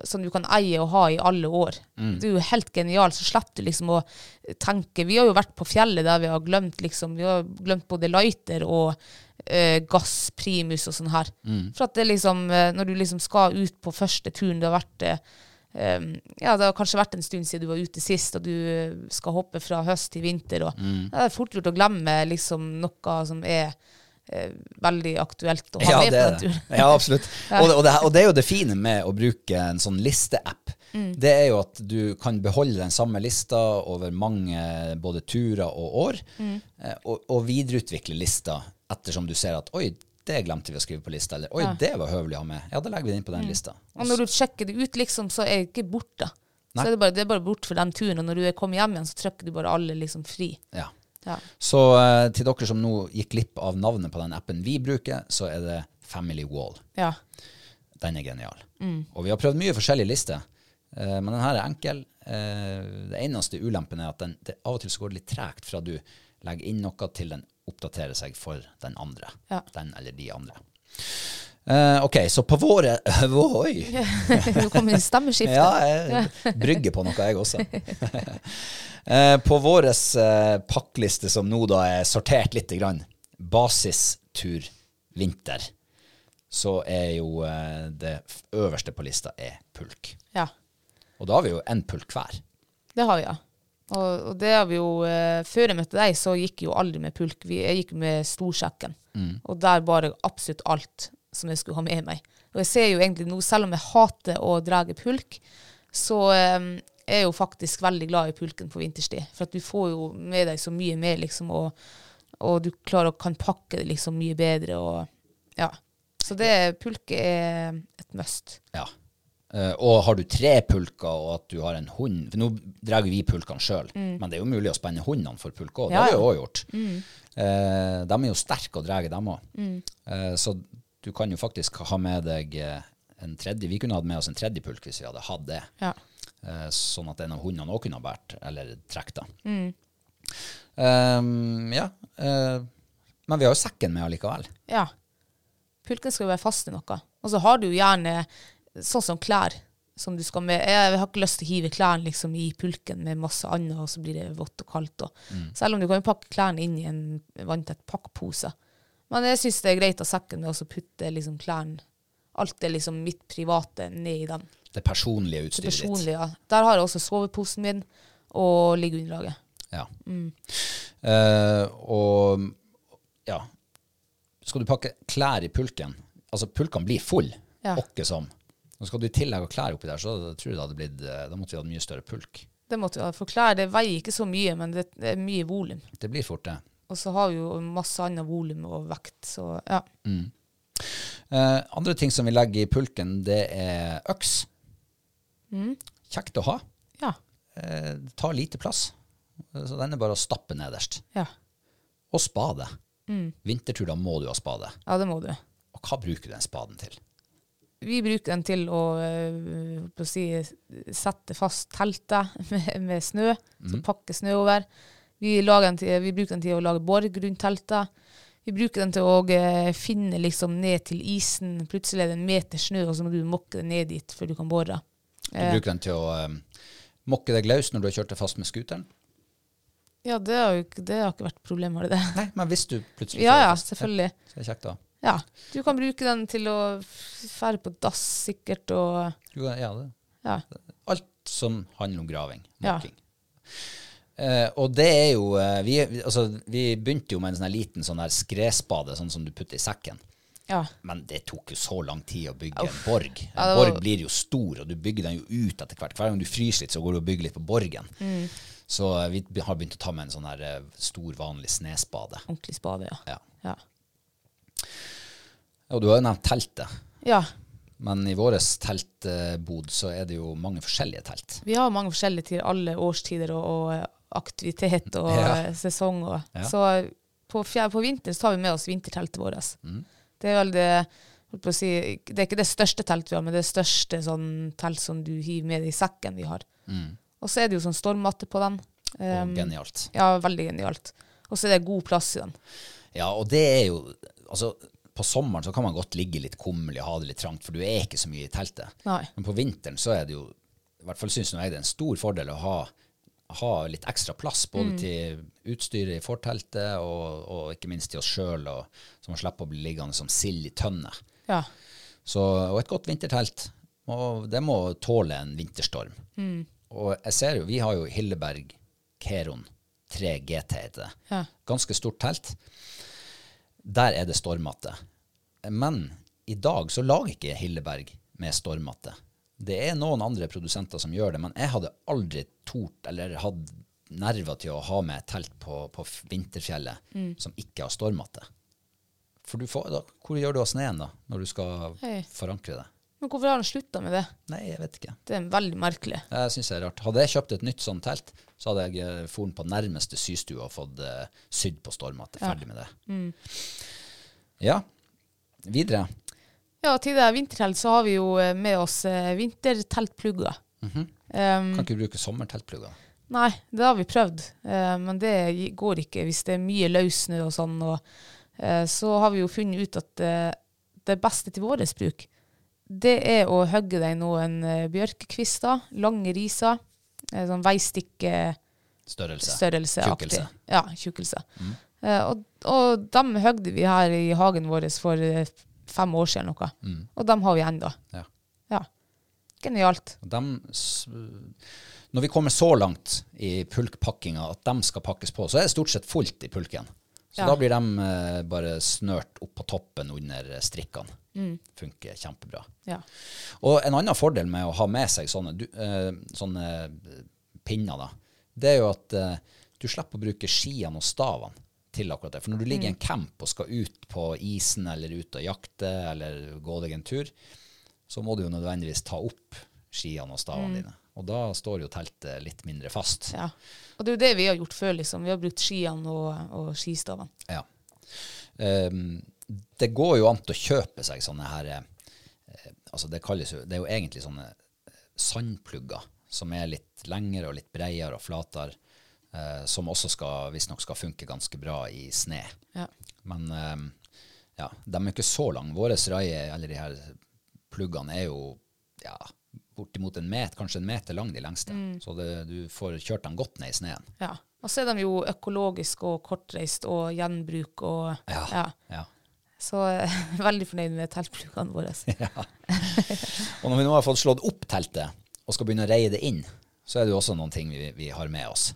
som du kan eie og ha i alle år. Det er jo helt genialt, så slipper du liksom å tenke. Vi har jo vært på fjellet der vi har glemt, liksom, vi har glemt både lighter og eh, gass, primus og sånn her. For at det liksom, eh, når du liksom skal ut på første turen, det har vært eh, Um, ja, det har kanskje vært en stund siden du var ute sist, og du eh, skal hoppe fra høst til vinter. Og,
Mm.
ja, det er fort gjort å glemme liksom, noe som er eh, veldig aktuelt å ha med på
er
den turen.
Ja, absolutt. Og, det, og, det, og det er jo det fine med å bruke en sånn listeapp.
Mm.
det er jo at du kan beholde den samme lista over mange både turer og år,
Mm.
eh, og, og videreutvikle lista ettersom du ser at oi, det glemte vi å skrive på lista, eller oi, det var høvelig å ha med. Ja, da legger vi det inn på
Mm.
den lista.
Og når du sjekker det ut, liksom, så er det ikke bort, da.
Nei.
Så er det, bare, det er bare bort for den turen, og når du er kommet hjem igjen, så trykker du bare alle liksom fri.
Ja.
Ja.
Så eh, til dere som nå gikk glipp av navnet på den appen vi bruker, så er det Family Wall.
ja.
Den er genial. Og vi har prøvd mye forskjellige lister, eh, men den her er enkel. Eh, det eneste ulempen er at den, det av og til så går det litt tregt fra du legger inn noe til den oppdaterer seg for den andre.
Ja.
Den eller de andre. Eh, ok, så på våre Oi!
Nå kommer det stemmeskifte.
Ja, jeg brygger på noe jeg også. Eh, på vår pakkliste, som nå da er sortert litt, grann, basistur vinter, så er jo eh, det f- øverste på lista er pulk.
Ja,
Og da har vi jo én pulk hver.
det har vi, ja. Og, og det har vi jo eh, Før jeg møtte deg, så gikk jeg jo aldri med pulk. Vi, jeg gikk med storsjekken. Og der bar jeg absolutt alt som jeg skulle ha med meg. Og jeg ser jo egentlig nå, selv om jeg hater å dra pulk, så eh, er jeg jo faktisk veldig glad i pulken på vinterstid. For at du får jo med deg så mye mer, liksom, og, og du klarer å kan pakke det liksom mye bedre og Ja. Så det pulke er et must.
Ja. Eh, og har du tre pulker, og at du har en hund For nå drar vi pulkene sjøl, men det er jo mulig å spenne hundene for pulk òg. Det
Mm. Ja,
har vi
ja. Mm.
jo òg gjort. Eh, de er jo sterke og drar, dem òg. Eh, så du kan jo faktisk ha med deg eh, en tredje Vi kunne hatt med oss en tredje pulk hvis vi hadde hatt det,
Ja.
eh, sånn at en av hundene òg kunne ha båret eller trukket det.
Mm.
Eh, ja. eh, men vi har jo sekken med allikevel.
Ja. Pulken skal jo være fast i noe. Og så har du jo gjerne sånn som klær som du skal med. Jeg har ikke lyst til å hive klærne liksom i pulken med masse annet, og så blir det vått og kaldt. Og. Selv om du kan jo pakke klærne inn i en vanntett pakkpose. Men jeg syns det er greit å ha sekken med og så putte liksom klærne Alt det liksom mitt private ned i den.
Det personlige
Det
utstyret ditt.
personlige. Der har jeg også soveposen min og liggeunderlaget.
Ja. Eh, og ja Skal du pakke klær i pulken Altså, pulkene blir full,
Ja.
åkke som. Og skal du i tillegg ha klær oppi der, så tror jeg det hadde blitt eh, Da måtte vi hatt mye større pulk.
Det måtte vi ha. For klær det veier ikke så mye, men det det er mye volum.
Det blir fort det.
Og så har vi jo masse annet volum og vekt, så ja.
Eh, andre ting som vi legger i pulken, det er øks. Kjekt å ha.
Ja.
Eh, det tar lite plass. Eh, Så den er bare å stappe nederst.
Ja,
Og spade. Vintertur, da må du ha spade.
ja det må du.
Og hva bruker du den spaden til?
Vi bruker den til å, øh, holdt på å si, sette fast teltet med, med snø, så pakke snø over. Vi, lager den til, vi bruker den til å lage borg rundt teltet. Vi bruker den til å øh, finne liksom ned til isen. Plutselig er det en meter snø, og så må du mokke det ned dit før du kan bore.
Du bruker den til å eh, mokke deg løs når du har kjørt deg fast med scooteren.
Ja, det har, jo, ikke- det har ikke vært problem, har det det?
Nei, men hvis du plutselig
Ja,
kjører
ja,
fast,
selvfølgelig.
Så er det kjekt, da.
Ja, du kan bruke den til å fære på dass sikkert, og
Du kan- Ja, det.
ja.
Alt som handler om graving.
Ja.
Mokking. Eh, og det er jo eh, vi, vi- altså, vi begynte jo med en sånn her liten sånn her skredspade, sånn som du putter i sekken.
ja.
Men det tok jo så lang tid å bygge en borg. En
Ja, det var-
borg blir jo stor, og du bygger den jo ut etter hvert. Hver gang du fryser litt, så går du og bygger litt på borgen.
Mm.
Så eh, vi be- har begynt å ta med en sånn her eh, stor, vanlig snespade.
Ordentlig spade, ja.
Ja.
Ja.
Og du har jo nevnt teltet.
ja.
Men i vår teltbod så er det jo mange forskjellige telt.
Vi har mange forskjellige til alle årstider og, og aktivitet og
Ja.
eh, sesong. Og.
Ja.
Så på, fjer- på vinteren så tar vi med oss vinterteltet vårt. Det er vel det holdt på å si, Det er ikke det største teltet vi har, men det største sånn telt som du hiver med deg i sekken vi har. Og så er det jo sånn stormmatte på den.
Og
Um,
genialt.
ja, veldig genialt. Og så er det god plass i den.
Ja, og det er jo Altså, på sommeren så kan man godt ligge litt kummerlig og ha det litt trangt, for du er ikke så mye i teltet.
Nei.
Men på vinteren så er det jo I hvert fall syns nå jeg det er en stor fordel å ha, ha litt ekstra plass, både til utstyret i forteltet og, og ikke minst til oss sjøl, så man slipper å bli liggende som sild i tønne.
Ja.
Så, og et godt vintertelt. Og det må tåle en vinterstorm.
Mm.
Og jeg ser jo, vi har jo Hilleberg Keron 3 GT heter det.
Ja.
Ganske stort telt. Der er det stormmatte. Men i dag så lager ikke Hilleberg med stormmatte. Det er noen andre produsenter som gjør det, men jeg hadde aldri tort eller hatt nerver til å ha med et telt på, på f- vinterfjellet
Mm.
som ikke har stormete. For du får, da, hvor gjør du av sneen da, når du skal
Hei.
forankre det?
Men hvorfor har han slutta med det?
Nei, jeg vet ikke.
Det er veldig merkelig.
Jeg synes det er rart. Hadde jeg kjøpt et nytt sånt telt, så hadde jeg eh, foren på nærmeste systue og fått eh, sydd på stormete. Ferdig med det. Ja. Videre.
Ja, til det vintertelt så har vi jo eh, med oss eh, vinterteltplugger. um,
Mhm. Kan ikke bruke sommerteltplugger.
nei, det har vi prøvd, eh, men det gi- går ikke hvis det er mye løs snø og sånn. Og, eh, så har vi jo funnet ut at eh, det beste til vår bruk, det er å hogge deg noen eh, bjørkekvister, lange riser, eh, sånn veistikke
Størrelse.
størrelseaktig.
Tjukkelse. Mm.
Ja, tjukkelse. Eh, og, og dem høgde vi her i hagen vår for eh, fem år siden eller noe.
Mm.
Og dem har vi ennå.
Ja.
Ja. Genialt.
Og dem s- når vi kommer så langt i pulkpakkinga at de skal pakkes på, så er det stort sett fullt i pulken. Så
Ja.
da blir de eh, bare snørt opp på toppen under strikkene. Funker kjempebra.
Ja.
Og en annen fordel med å ha med seg sånne, du, eh, sånne eh, pinner, da, det er jo at eh, du slipper å bruke skiene og stavene til akkurat det. For når du ligger i en camp og skal ut på isen eller ut og jakte eller gå deg en tur, så må du jo nødvendigvis ta opp skiene og stavene dine. Og da står jo teltet litt mindre fast.
ja. Og det er jo det vi har gjort før, liksom. Vi har brukt skiene og, og skistavene.
Ja. Ehm, det går jo an til å kjøpe seg sånne her eh, altså det, kalles jo, det er jo egentlig sånne eh, sandplugger som er litt lengre og litt bredere og flatere, eh, som også skal, visstnok skal funke ganske bra i sne.
Ja.
Men ehm, ja, de er jo ikke så lange. Våre raie, eller de her pluggene, er jo ja, bortimot en meter, kanskje en meter lang de lengste. Så det, du får kjørt dem godt ned i sneen.
ja. Og så er de jo økologiske og kortreist og gjenbruk og
Ja.
ja.
Ja.
Så eh, veldig fornøyd med teltpluggene våre.
Og når vi nå har fått slått opp teltet og skal begynne å reie det inn, så er det jo også noen ting vi, vi har med oss.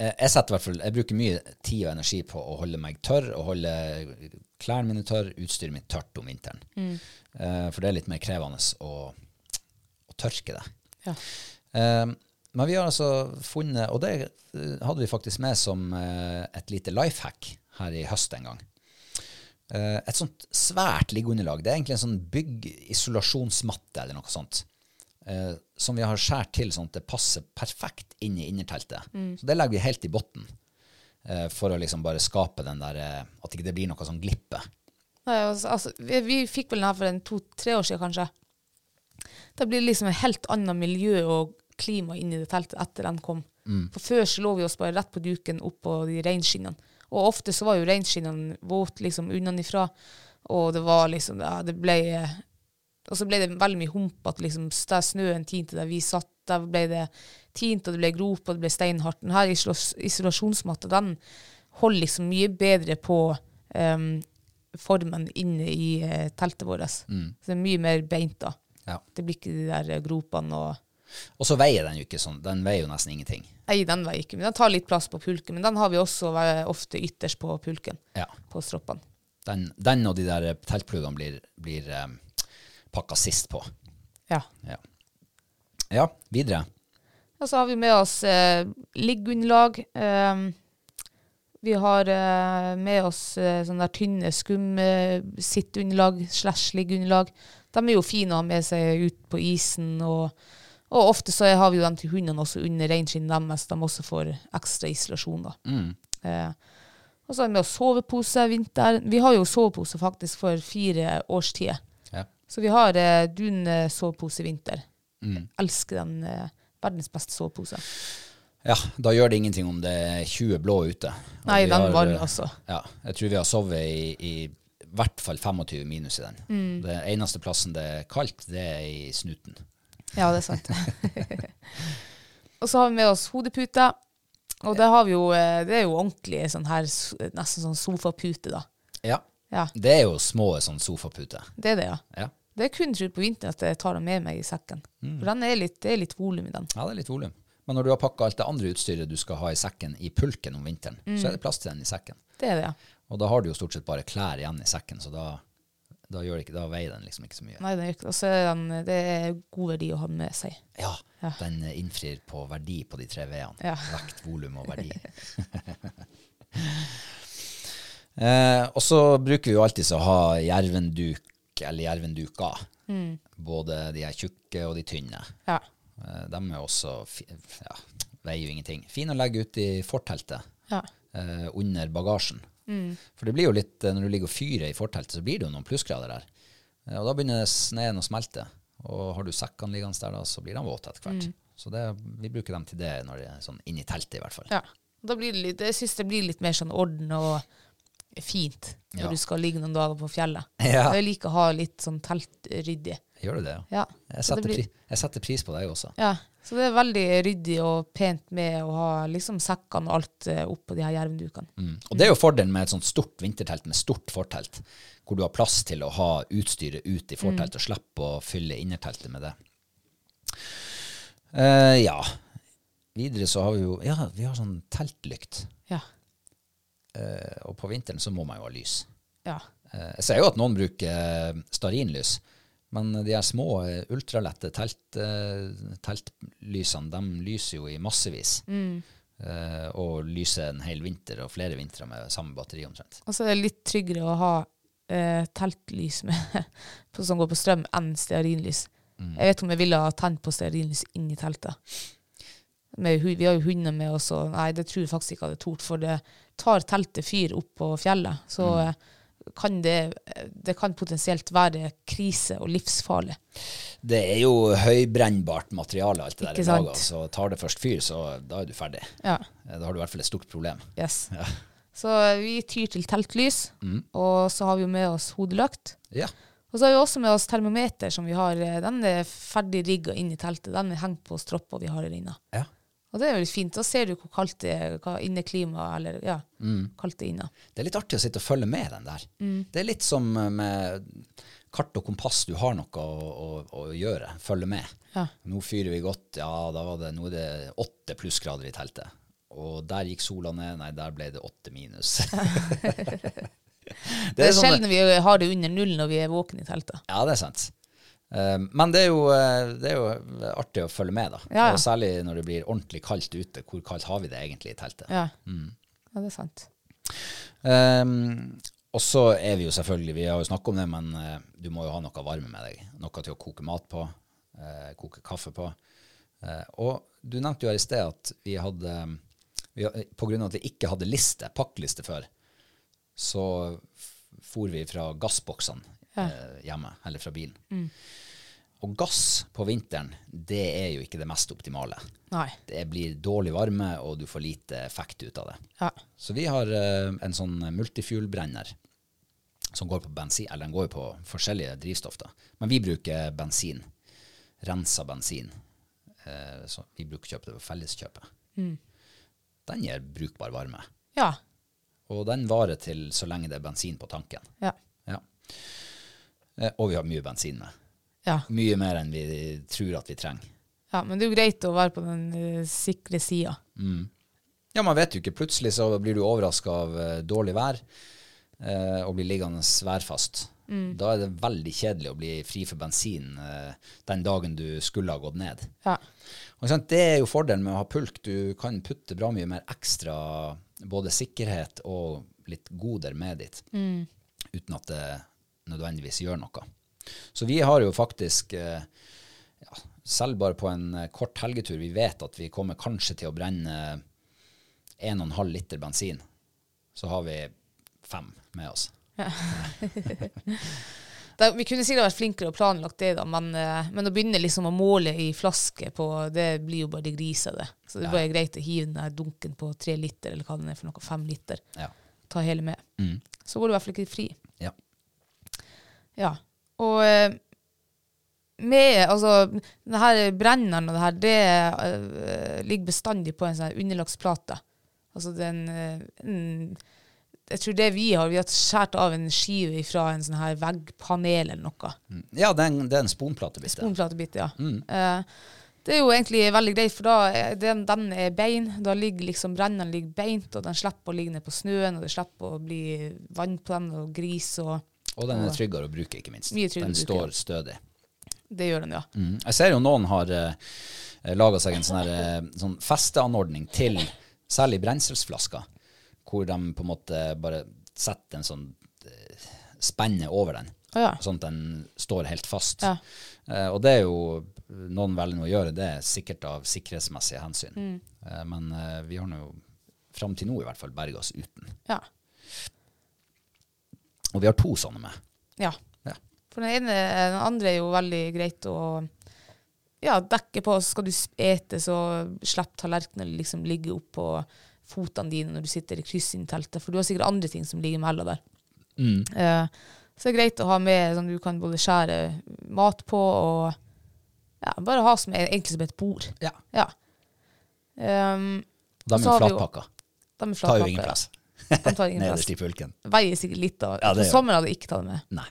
Eh, Jeg, setter i hvert fall, jeg bruker mye tid og energi på å holde meg tørr, og holde klærne mine tørr, utstyret mitt tørt om vinteren. Eh, For det er litt mer krevende å, å tørke det.
Ja.
Eh, Men vi har altså funnet, og det eh, hadde vi faktisk med som eh, et lite life hack her i høst en gang. Eh, Et sånt svært liggeunderlag, det er egentlig en sånn byggisolasjonsmatte eller noe sånt, eh, som vi har skjært til sånn at det passer perfekt inn i innerteltet. Så det legger vi helt i botten eh, for å liksom bare skape den der, eh, at ikke det blir noe sånn glippe.
Nei, altså, altså, vi, vi fikk vel den her for en to-tre år siden, kanskje. Da blir det liksom et helt annet miljø og klima inni det teltet etter den kom. For før så lå vi oss bare rett på duken opp på de reinskinnene. Og ofte så var jo reinskinnene våte liksom unnanifra, og det var liksom ja, det ble, Og så ble det veldig mye humpete, liksom. Der snøen tinte der vi satt, der ble det tint, og det ble grop, og det ble steinhardt. Den her isolas- isolasjonsmatta, den holder liksom mye bedre på em, formen inne i eh, teltet vårt. Så det er mye mer beint da.
Ja.
Det blir ikke de der eh, gropene og
Og så veier den jo ikke sånn, den veier jo nesten ingenting.
Nei, den veier ikke, men den tar litt plass på pulken. Men den har vi også eh, ofte ytterst på pulken,
Ja.
på stroppene.
Den, den og de der teltpluggene blir, blir eh, pakka sist på.
Ja.
Ja. ja, videre.
Og så har vi med oss eh, liggeunderlag. eh, vi har eh, med oss eh, sånne der tynne skum-sittunderlag slash liggeunderlag. De er jo fine å ha med seg ut på isen. Og, og ofte så har vi jo dem til hundene også under reinskinnet deres. De også får ekstra isolasjon, da.
Mm.
Eh, og så har vi med oss sovepose vinter. Vi har jo sovepose faktisk for fire årstider.
Ja.
Så vi har eh, dunsovepose vinter.
Mm.
Elsker den. Eh, verdens beste sovepose.
Ja, da gjør det ingenting om det er 20 blå ute. Og
Nei,
vi
den
har,
altså-
eh,
varmer også.
Ja, jeg tror vi har sovet i, i hvert fall 25 minus i den.
Mm.
Det eneste plassen det er kaldt, det er i snuten.
Ja, det er sant. og så har vi med oss hodepute. Og det, har vi jo, eh, det er jo ordentlig sånn her, s- nesten sånn sofapute, da.
Ja.
Ja,
Det er jo små sånn sofaputer.
det er det, ja.
Ja.
Det er kun tror jeg, på vinteren at jeg tar den med meg i sekken.
Mm.
For den er litt, det er litt volum i den.
ja, det er litt volum. Men når du har pakka alt det andre utstyret du skal ha i sekken i pulken om
Mm.
vinteren, så er det plass til den i sekken.
Det er det, ja.
Og da har du jo stort sett bare klær igjen i sekken, så da da, gjør det ikke, da veier den liksom ikke så mye.
Nei, den gjør ikke det. Og så er den, det er god verdi å ha med seg.
Ja,
Ja.
den eh, innfrir på verdi på de tre V-ene.
Ja.
Vekt, volum og verdi. eh, og så bruker vi jo alltid å ha jervenduk eller jervenduker.
Mm.
Både de her tjukke og de tynne.
Ja.
Eh, de er jo også fi, ja, veier jo ingenting. Fin å legge ut i forteltet.
Ja.
Eh, under bagasjen.
Mm.
For det blir jo litt, eh, når du ligger og fyrer i forteltet, så blir det jo noen plussgrader der. Eh, og da begynner sneen å smelte. Og har du sekkene liggende der, da, så blir de våte etter hvert.
Mm.
Så det, vi bruker dem til det når det er sånn inni teltet, i hvert fall.
ja. Da blir det litt, jeg syns det blir litt mer sånn orden og fint når
Ja.
du skal ligge noen dager på fjellet.
Ja.
Jeg liker å ha litt sånn teltryddig.
Gjør du det, ja?
Ja.
Jeg
Så
setter,
det blir-
pri, jeg setter pris på deg også.
Ja, så det er veldig ryddig og pent med å ha liksom sekkene og alt eh, oppå de her jervendukene.
Mm. Og det er jo fordelen med et sånt stort vintertelt med stort fortelt, hvor du har plass til å ha utstyret ut i forteltet og slippe å fylle innerteltet med det. Eh, ja. Videre så har vi jo Ja, vi har sånn teltlykt.
Ja.
Eh, og på vinteren så må man jo ha lys.
ja.
Eh, jeg ser jo at noen bruker eh, stearinlys, men de her små eh, ultralette telt, eh, teltlysene, de lyser jo i massevis. Eh, og lyser en hel vinter og flere vintre med samme batteri omtrent.
Og så er det litt tryggere å ha eh, teltlys med, på, som går på strøm, enn stearinlys. Jeg vet om jeg ville ha tent på stearinlys inni teltet. Med, hu- vi har jo hunder med oss, og nei, det tror jeg faktisk ikke jeg hadde tort, for det tar teltet fyr opp på fjellet, så eh, kan det, eh, det kan potensielt være krise og livsfarlig.
Det er jo høybrennbart materiale, alt det
Ikke
der i
sant?
laget. Så tar det først fyr, så da er du ferdig.
Ja.
Eh, Da har du i hvert fall et stort problem.
Yes.
Ja.
Så vi tyr til teltlys, og så har vi jo med oss hodeløkt.
Ja.
Og så har vi også med oss termometer, som vi har, eh, den er ferdig rigga inn i teltet. Den er hengt på stroppa vi har her inne.
ja.
Og det er veldig fint. Da ser du hvor kaldt det er hva inneklimaet eller ja, kaldt det er inne.
Det er litt artig å sitte og følge med den der.
Mm.
Det er litt som eh, med kart og kompass, du har noe å, å, å gjøre, følge med.
Ja.
Nå fyrer vi godt, ja, da var det, nå er det åtte plussgrader i teltet. Og der gikk sola ned, nei, der ble det åtte minus.
Det er,
sånne-
sjelden vi har det under null når vi er våkne i teltet.
ja, det er sant. Eh, Men det er, jo, eh, det er jo artig å følge med, da.
Ja, ja.
Og særlig når det blir ordentlig kaldt ute. Hvor kaldt har vi det egentlig i teltet?
Ja. ja, det er sant.
Ehm, og så er vi jo selvfølgelig, vi har jo snakket om det, men eh, du må jo ha noe varme med deg. Noe til å koke mat på, eh, koke kaffe på. Eh, og du nevnte jo her i sted at vi hadde, vi, har- på grunn av at vi ikke hadde liste, pakkliste før, så f- for vi fra gassboksene eh, hjemme, eller fra bilen. Og gass på vinteren, det er jo ikke det mest optimale.
Nei.
Det blir dårlig varme, og du får lite effekt ut av det.
Ja.
Så vi har eh, en sånn multifuel-brenner som går på bensin, eller den går jo på forskjellige drivstoff. da. Men vi bruker bensin. Rensa bensin. Eh, så vi bruker kjøpe det på Felleskjøpet. Den gir brukbar varme.
Mm. Ja.
Og den varer til så lenge det er bensin på tanken.
Ja.
Ja. Eh, og vi har mye bensin med.
ja.
Mye mer enn vi tror at vi trenger.
ja. Men det er jo greit å være på den eh, sikre sida.
Ja, man vet jo ikke. Plutselig så blir du overraska av eh, dårlig vær eh, og blir liggende værfast. Da er det veldig kjedelig å bli fri for bensin eh, den dagen du skulle ha gått ned.
Ja.
Og ikke sant, Det er jo fordelen med å ha pulk. Du kan putte bra mye mer ekstra både sikkerhet og litt goder med dit,
Mm.
uten at det nødvendigvis gjør noe. Så vi har jo faktisk, eh, ja, selv bare på en eh, kort helgetur, vi vet at vi kommer kanskje til å brenne 1,5 liter bensin. Så har vi fem med oss.
Da, vi kunne sikkert vært flinkere og planlagt det, da, men, eh, men å begynne liksom å måle i flaske på Det blir jo bare det grisete. Så det er bare greit å hive den der dunken på tre liter, eller hva den er for noe, fem liter.
Ja.
Ta hele med.
Mm.
Så går du i hvert fall ikke fri.
ja.
Ja. Og eh, med Altså, den her brenneren og det her, det eh, ligger bestandig på en sånn her underlagsplate. Altså den eh, en, Jeg tror det vi har, vi har skåret av en skive fra en sånn her veggpanel eller noe.
Mm. ja, det er en, det er en sponplatebit. det.
Sponplatebit, ja. Eh, det er jo egentlig veldig greit, for da er den, den er bein. Da ligger liksom brenneren ligger beint, og den slipper å ligge ned på snøen, og det slipper å bli vann på den og gris og
Og den er tryggere å bruke, ikke minst.
Mye tryggere
den
å
står
bruke,
stødig.
Det gjør den, ja.
Mm. Jeg ser jo noen har uh, laga seg en sånn, her, eh, sånn festeanordning til særlig brenselsflasker, hvor de på en måte bare setter en sånn eh, spenne over den,
Å ja.
sånn at den står helt fast.
Ja.
Eh, og det er jo noen velger nå å gjøre det, sikkert av sikkerhetsmessige hensyn.
Mm.
Eh, men eh, vi har nå fram til nå i hvert fall berga oss uten.
ja.
Og vi har to sånne med.
Ja.
Ja.
For den ene, den andre er jo veldig greit å ja, dekke på. Skal du ete, så slipp tallerkenen eller liksom ligge oppå fotene dine når du sitter i kryssinnteltet, for du har sikkert andre ting som ligger mellom der.
Mm.
Eh, så det er greit å ha med sånn du kan både skjære mat på og ja, bare ha som e, egentlig som et bord.
Ja.
Ja. Um,
Og de er
Så har vi
jo
jo
flatpakka.
de er
Tar jo
flatpakke,
ingen plass.
ja. De tar ingen
Nederst
plass.
i pulken.
Veier sikkert litt. da.
Ja, det
På
gjør
sommeren hadde jeg ikke tatt det med.
Nei.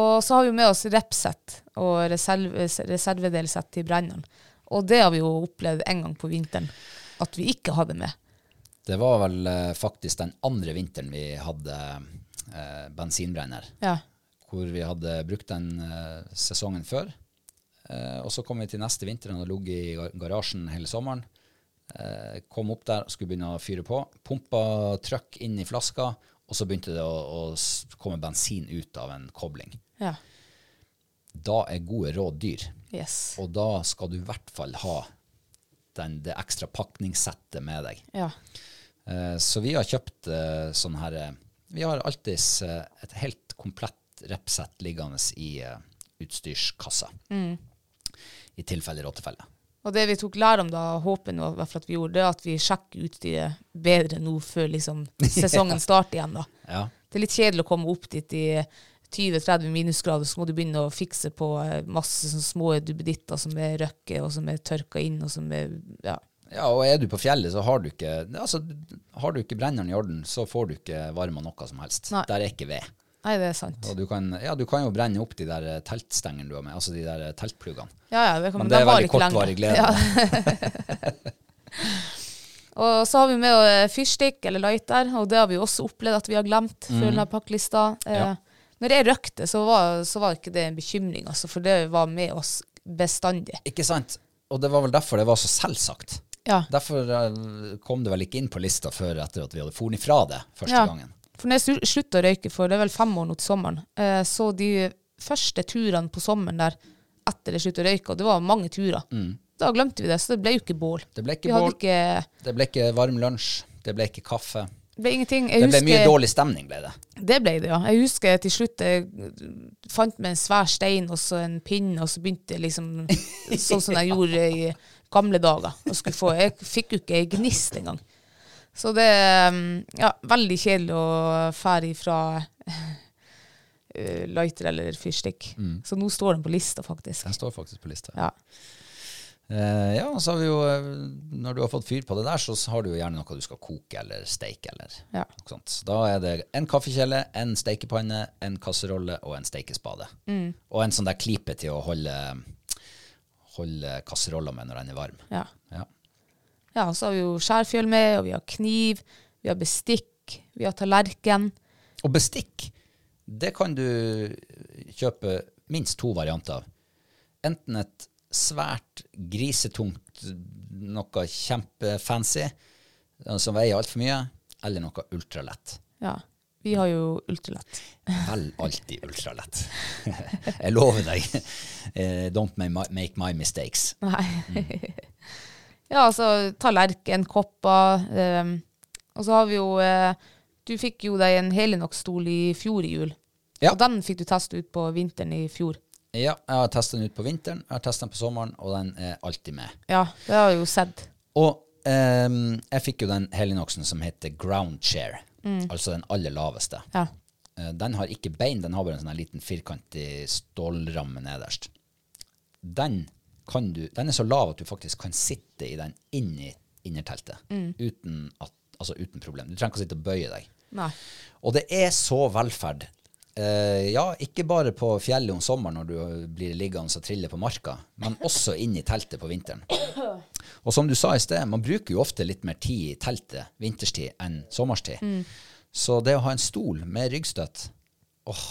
Og så har vi med oss repsett og reserve, reservedelsett til brenneren. Og det har vi jo opplevd en gang på vinteren, at vi ikke hadde med.
Det var vel eh, faktisk den andre vinteren vi hadde eh, bensinbrenner,
Ja.
hvor vi hadde brukt den eh, sesongen før. Eh, og så kom vi til neste vinter, den hadde ligget i gar- garasjen hele sommeren. Eh, kom opp der, skulle begynne å fyre på. Pumpa trøkk inn i flaska, og så begynte det å, å s- komme bensin ut av en kobling.
ja.
Da er gode råd dyr,
Yes.
og da skal du i hvert fall ha den, det ekstra pakningssettet med deg.
Ja.
Eh, Så vi har kjøpt eh, sånn her eh, Vi har alltids eh, et helt komplett repsett liggende i eh, utstyrskassa.
Mm.
I tilfelle råtefelle.
Og det vi tok lærdom da, håper nå i hvert fall at vi gjorde, det er at vi sjekker utstyret bedre nå før liksom sesongen starter igjen. da.
Ja.
Det er litt kjedelig å komme opp dit i 20-30 minusgrader, så må du begynne å fikse på eh, masse sånne små duppeditter som er røkke, og som er tørka inn, og som er ja.
ja, og er du på fjellet, så har du ikke altså, Har du ikke brenneren i orden, så får du ikke varma noe som helst.
Nei.
Der er ikke ved.
Nei, det er sant.
Og du kan, ja, du kan jo brenne opp de der eh, teltstengene du har med, altså de der eh, teltpluggene.
Ja, ja, det kan,
Men
de
det er
var
veldig
ikke lenge.
kortvarig glede.
Og så har vi med eh, fyrstikk eller lighter, og det har vi jo også opplevd at vi har glemt før denne pakkelista. Eh,
Mm. Ja.
Når jeg røkte, så var, så var ikke det en bekymring, altså, for det var med oss bestandig.
Ikke sant? Og det var vel derfor det var så selvsagt.
Ja.
Derfor eh, kom det vel ikke inn på lista før etter at vi hadde foren ifra det første
Ja.
gangen.
For når jeg slu- sluttet å røyke for, det er vel fem år nå til sommeren, eh, så de første turene på sommeren der, etter jeg sluttet å røyke, og det var mange turer, da glemte vi det, så det ble jo ikke bål.
Mm. Det ble ikke
vi hadde
bål.
Ikke,
Det ble ikke varm lunsj, det ble ikke kaffe.
det ble ingenting.
Det
Jeg
ble mye
husker-
dårlig stemning, ble det.
Det ble det, ja. Jeg husker til slutt jeg fant meg en svær stein og så en pinne, og så begynte jeg liksom sånn som jeg gjorde i gamle dager. Og skulle få, jeg fikk jo ikke ei gnist engang. Så det mm, Ja, veldig kjedelig å fære ifra eh, lighter eller fyrstikk. Så nå står den på lista, faktisk.
Den står faktisk på lista. Ja,
Ja.
eh, ja og så har vi jo eh, Når du har fått fyr på det der, så s- har du jo gjerne noe du skal koke eller steike eller
Ja.
noe sånt. Så da er det en kaffekjele, en steikepanne, en kasserolle og en steikespade.
Mm.
Og en sånn der klype til å holde, holde kasserolla med når den er varm.
ja.
Ja.
Ja, og så har vi jo skjærfjøl med, og vi har kniv, vi har bestikk, vi har tallerken.
Og bestikk, det kan du kjøpe minst to varianter av. Enten et svært grisetungt, noe kjempefancy, eh, som veier altfor mye, eller noe ultralett.
Ja. Vi har jo ultralett.
Vel alltid ultralett. Jeg lover deg. Eh, Don't ma- ma- make my mistakes.
Nei.
Mm.
ja, altså tallerken, kopper. ehm, og så har vi jo eh, Du fikk jo deg en Helinox-stol i fjor i jul.
Ja.
Og den fikk du teste ut på vinteren i fjor.
Ja, jeg har testet den ut på vinteren, jeg har testet den på sommeren, og den er alltid med.
Ja, det har jeg jo sett.
Og ehm, jeg fikk jo den Helinoxen som heter ground chair, altså den aller laveste.
Ja.
Eh, Den har ikke bein, den har bare en sånn her liten firkantig stålramme nederst. Den, kan du, den er så lav at du faktisk kan sitte i den inni innerteltet uten, at, altså uten problem. Du trenger ikke å sitte og bøye deg.
Nei.
Og det er så velferd. Eh, ja, ikke bare på fjellet om sommeren når du blir liggende og triller på marka, men også inn i teltet på vinteren. Og som du sa i sted, man bruker jo ofte litt mer tid i teltet Mm. vinterstid enn sommerstid. Så det å ha en stol med ryggstøtt, åh,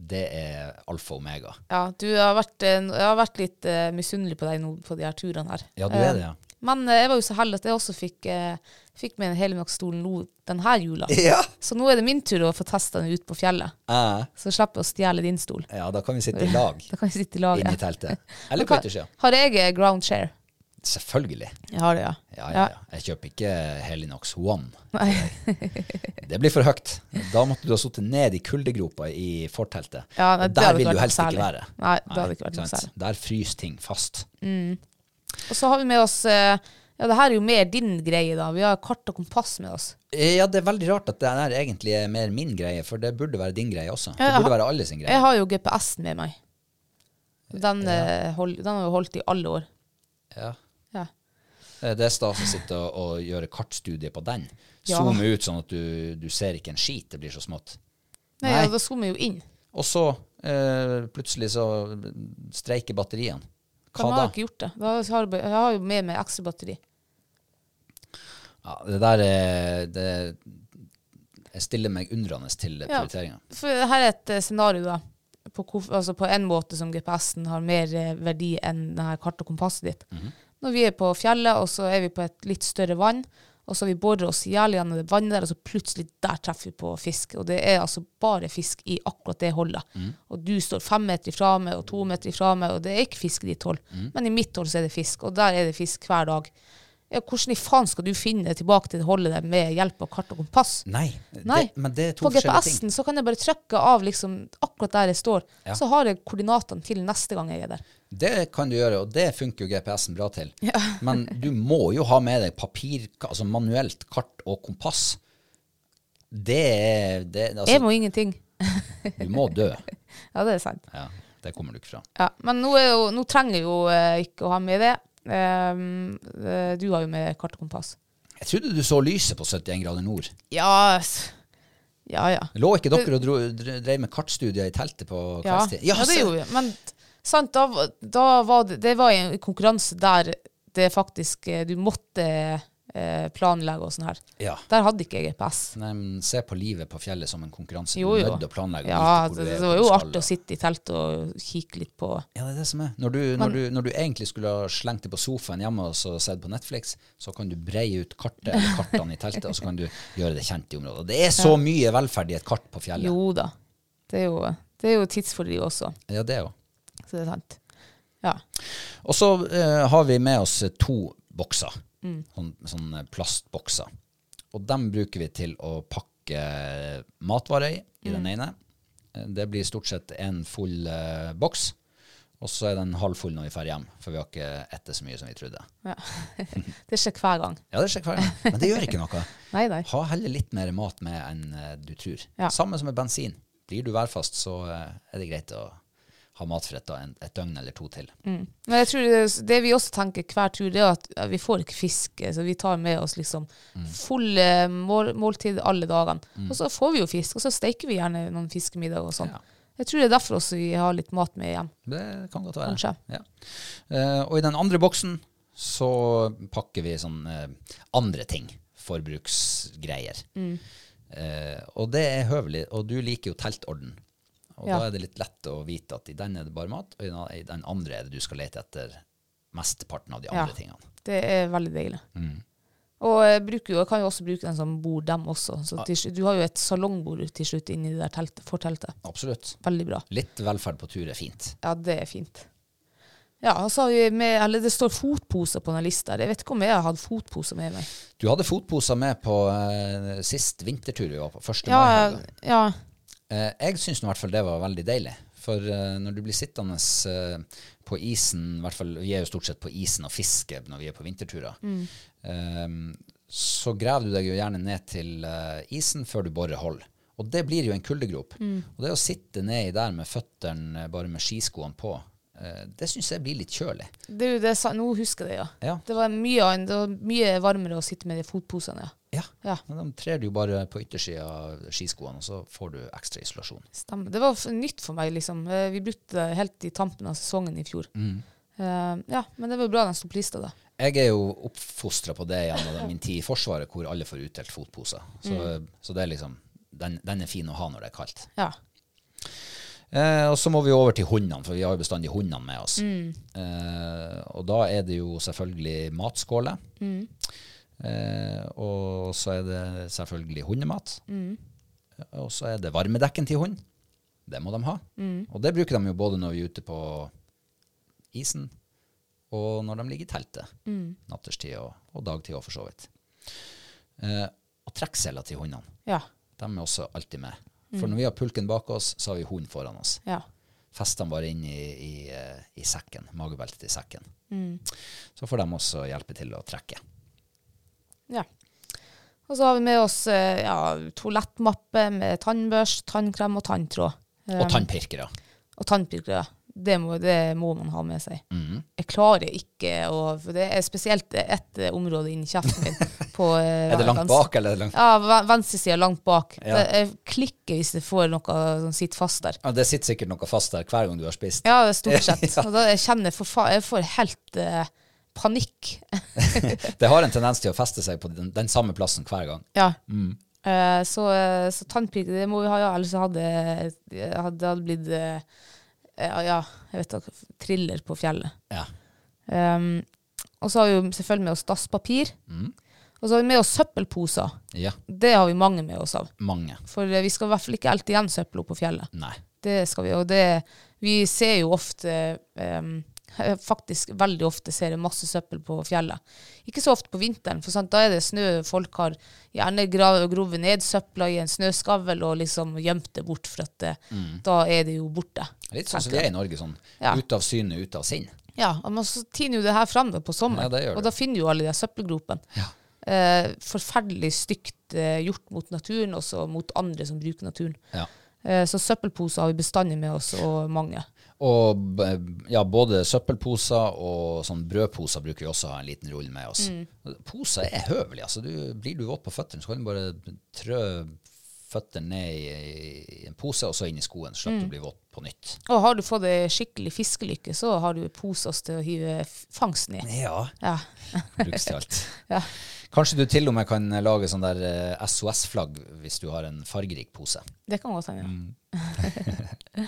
det er alfa og omega.
Ja, du har vært, eh, n- jeg har vært litt eh, misunnelig på deg nå på de her turene her.
Ja, du er det, ja.
Men eh, jeg var jo så heldig at jeg også fikk, eh, fikk med en Helmarksstolen nå denne jula.
Ja.
Så nå er det min tur å få testa den ut på fjellet.
Eh,
Så slipper jeg å stjele din stol.
ja, da kan vi sitte i lag
Da kan vi sitte i
inne i
laget.
teltet. Eller på
Hva-
yttersida.
Har jeg eh, ground share?
Selvfølgelig.
Jeg har det, ja.
Ja, ja, ja. Jeg kjøper ikke Helinox One. Det blir for høyt. Da måtte du ha sittet ned i kuldegropa i forteltet.
Ja,
Og
nei, det
der
hadde
vil
ikke
du
vært
helst
noe
ikke
særlig.
være.
Nei, det hadde ikke vært noe
sant?
særlig.
Der fryser ting fast.
Og så har vi med oss eh, Ja, det her er jo mer din greie, da. Vi har kart og kompass med oss.
Eh, Ja, det er veldig rart at det der egentlig er mer min greie, for det burde være din greie også. Det
jeg
burde
har-
være alle sin greie.
Jeg har jo GPS-en med meg. Den, eh, hold, den har jeg holdt i alle år.
Ja. Eh,
Ja.
Det er stas å sitte og, og gjøre kartstudier på den.
Ja.
Zoome ut sånn at du, du ser ikke en skit, det blir så smått.
Nei,
Nei.
Ja, da zoomer jeg jo inn.
Og så eh, plutselig så streiker batteriene.
Da
Hva
har
da?
jeg ikke gjort det. Da har jeg, bare- jeg har jo med meg ekstra batteri.
Ja, det der er det, Jeg stiller meg undrende til
Ja.
prioriteringa.
For her er et eh, scenario, da. På, hvorf- altså på en måte som GPS-en har mer eh, verdi enn det her kart og kompasset ditt. Når vi er på fjellet, og så er vi på et litt større vann, og så har vi borer oss i hjel gjennom det vannet der, og så plutselig der treffer vi på fisk. Og det er altså bare fisk i akkurat det hullet. Og du står fem meter ifra meg, og to meter ifra meg, og det er ikke fisk i ditt hull. Men i mitt hull så er det fisk, og der er det fisk hver dag. Ja, hvordan i faen skal du finne tilbake til det hullet der med hjelp av kart og kompass?
Nei,
Nei.
Det, men det er to
på
forskjellige ting.
GPS-en så kan jeg bare trykke av liksom, akkurat der jeg står.
Ja.
Så har jeg koordinatene til neste gang jeg er der.
Det kan du gjøre, og det funker jo GPS-en bra til. Men du må jo ha med deg papir, altså manuelt kart og kompass. Det er det,
Jeg
altså,
må ingenting.
Du må dø.
Ja, det er sant.
Ja, det kommer du ikke fra.
Ja, men nå, er jo, nå trenger jeg jo eh, ikke å ha med det. Ehm, eh, du har jo med kart og kompass.
Jeg trodde du så lyset på 71 grader nord.
Ja, s- ja. Ja,
Lå ikke dere og dro, dre- drev med kartstudier i teltet på
ja.
kveldstid?
ja det
se-
gjorde jeg. Men sant, da, var- da var det, det var en konkurranse der det faktisk eh, Du måtte eh, planlegge og sånn her.
Ja.
Der hadde ikke jeg GPS.
Nei, men se på livet på fjellet som en konkurranse.
Jo,
Du er
jo.
nødt til å planlegge. og
Ja, altså,
vite hvor
det,
du er,
det
hvor
var
du
jo
skal,
artig
og-
å sitte i teltet og kikke litt på
Ja, det er det som er. Når du, når du, når du egentlig skulle ha slengt det på sofaen hjemme og så sett på Netflix, så kan du breie ut kartet eller kartene i teltet, og så kan du gjøre det kjent i området. Og Det er så mye velferd i et kart på fjellet.
Jo da. Det er jo, det er jo tidsfordriv også,
Ja, det er jo.
så det er sant. Ja.
Og så eh, har vi med oss eh, to bokser, sånn, sånne plastbokser. Og dem bruker vi til å pakke eh, matvarer i, i den ene. Eh, Det blir stort sett en full eh, boks, og så er den halvfull når vi drar hjem, for vi har ikke etter så mye som vi trodde.
ja. det skjer hver gang.
Ja, det skjer hver gang, men det gjør ikke noe.
Nei, nei.
Ha heller litt mer mat med enn eh, du tror.
Ja.
Samme som med bensin. Blir du værfast, så eh, er det greit å ha matfrett da en, et døgn eller to til.
Mm. Men jeg tror det, det vi også tenker hver tur, det er at ja, vi får ikke fisk, eh, så vi tar med oss liksom
Mm.
fulle mål, måltid alle dagene. Og så får vi jo fisk, og så steker vi gjerne noen fiskemiddager og sånn.
Ja.
Jeg tror det er derfor også vi har litt mat med hjem.
Det kan godt være.
Kanskje.
Ja. Eh, og i den andre boksen så pakker vi sånn eh, andre ting. Forbruksgreier.
Mm.
Eh, og det er høvelig. Og du liker jo teltorden. Og
Ja.
da er det litt lett å vite at i den er det bare mat, og i den- i den andre er det du skal lete etter mesteparten av de andre
Ja.
tingene.
Det er veldig deilig. Og jeg, bruker jo, jeg kan jo også bruke den som bor dem også. Så til, slutt- du har jo et salongbord til slutt inni det der teltet, forteltet.
Absolutt.
Veldig bra.
Litt velferd på tur er fint.
Ja, det er fint. Ja, og så har vi med, eller det står fotposer på den lista. her. Jeg vet ikke om jeg har hatt fotposer med meg.
Du hadde fotposer med på eh, sist vintertur vi var på, første
Ja,
mai.
ja,
Eh, jeg syns nå i hvert fall det var veldig deilig. For eh, når du blir sittende eh, på isen, i hvert fall vi er jo stort sett på isen og fisker når vi er på vinterturer, eh, så graver du deg jo gjerne ned til eh, isen før du borer hold. Og det blir jo en kuldegrop. Og det å sitte nedi der med føttene eh, bare med skiskoene på, eh, det syns jeg blir litt kjølig.
det er jo det, sa- nå husker jeg det, ja.
Ja.
Det var mye, annet- det var mye varmere å sitte med de fotposene, ja.
ja.
Ja,
Men De trer du jo bare på yttersida av skiskoene, og så får du ekstra isolasjon.
stemmer. Det var f- nytt for meg, liksom. Eh, Vi brukte det helt i tampen av sesongen i fjor. Eh, ja, men det var bra den sto på lista da.
Jeg er jo oppfostra på det gjennom min tid i Forsvaret, hvor alle får utdelt fotposer. Så, så det er liksom, den, den er fin å ha når det er kaldt.
Ja.
Eh, og så må vi over til hundene, for vi har jo bestandig hundene med oss. Eh, og da er det jo selvfølgelig matskåler. Eh, og så er det selvfølgelig hundemat. Og så er det varmedekken til hund. Det må de ha. Og det bruker de jo både når vi er ute på isen, og når de ligger i teltet. Natterstid og, og dagtid òg, for så vidt. Eh, og trekkseler til hundene.
Ja.
De er også alltid med. For når vi har pulken bak oss, så har vi hunden foran oss.
ja.
Fester den bare inn i, i, eh, i sekken, magebeltet i sekken. Så får de også hjelpe til å trekke.
Ja. Og så har vi med oss eh, ja, toalettmappe med tannbørst, tannkrem og tanntråd. eh,
Og tannpirkere.
Og tannpirkere. Det må, det må man ha med seg.
Mm.
Jeg klarer ikke å For det er spesielt ett eh, område inni kjeften min. På, eh,
Er det langt
venstre-
bak, eller er det langt
Ja, ve- venstresida langt bak.
Ja.
Det- Jeg klikker hvis jeg får noe som sitter fast der.
ja, Det sitter sikkert noe fast der hver gang du har spist.
Ja, det er stort sett.
Ja.
Og da jeg kjenner jeg for faen Jeg får helt eh, panikk.
Det har en tendens til å feste seg på den, den samme plassen hver gang.
Ja. Eh, så eh, så tannpirker, det må vi ha, ja. Ellers hadde det hadde, hadde blitt eh, ja, ja, jeg vet ikke, thriller på fjellet.
Ja.
Ehm, og så har vi jo selvfølgelig med oss dasspapir. Og så har vi med oss søppelposer.
ja.
Det har vi mange med oss av.
Mange.
For eh, vi skal i hvert fall ikke elte igjen søppel oppe på fjellet.
Nei.
Det skal vi, og det Vi ser jo ofte ehm, Faktisk veldig ofte ser jeg masse søppel på fjellet. Ikke så ofte på vinteren, for sant, da er det snø. Folk har gjerne gra- grovet ned søpla i en snøskavl og liksom gjemt det bort, for at det,
Mm.
da er det jo borte.
Litt sånn som vi er i Norge, sånn
Ja.
ut av syne, ut av sinn.
Ja, og man så tiner jo det her fram da på sommeren,
Ja, det gjør
og
det.
da finner jo alle de søppelgropene.
Ja.
Eh, forferdelig stygt eh, gjort mot naturen, også mot andre som bruker naturen.
Ja.
Eh, så søppelposer har vi bestandig med oss, og mange.
Og b- ja, både søppelposer og sånn brødposer bruker vi også ha en liten rull med oss. Poser er høvelig. altså. Du, blir du våt på føttene, så kan du bare trø føttene ned i, i en pose og så inn i skoen, så slipper du å bli våt på nytt.
Og har du fått ei skikkelig fiskelykke, så har du posas til å hive f- fangsten i.
Ja,
Ja.
brukes til alt.
Ja.
Kanskje du til og med kan lage sånn der eh, SOS-flagg hvis du har en fargerik pose.
Det kan godt hende.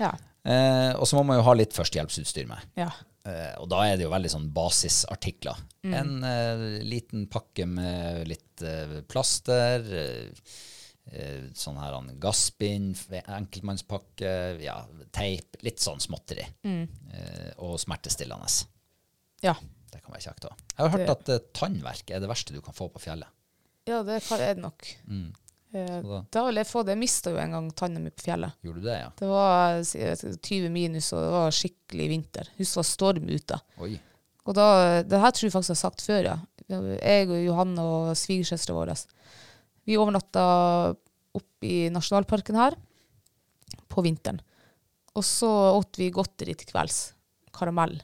Ja.
Eh, og så må man jo ha litt førstehjelpsutstyr med.
ja. ja.
Eh, og da er det jo veldig sånn basisartikler.
Mm.
En eh, liten pakke med litt eh, plaster, eh, eh, sånn her en gassbind, f- enkeltmannspakke, ja, teip, litt sånn småtteri. Eh, og smertestillende.
Mm. Ja.
Det kan være kjekt òg. Jeg har hørt at eh, tannverk er det verste du kan få på fjellet. Mm.
Ja, det kan- er det nok. Eh,
Så da-
da vil jeg få det. Jeg mista jo en gang tanna mi på fjellet.
Gjorde du det, ja?
Det var eh, si- 20 minus, og det var skikkelig vinter. Husk det var storm ute.
Oi.
Og da, det her tror jeg faktisk jeg har sagt før, ja. Jeg og Johanne og svigersøstera vår, altså. vi overnatta oppe i nasjonalparken her på vinteren. Og så åt vi godteri til kvelds. Karamell.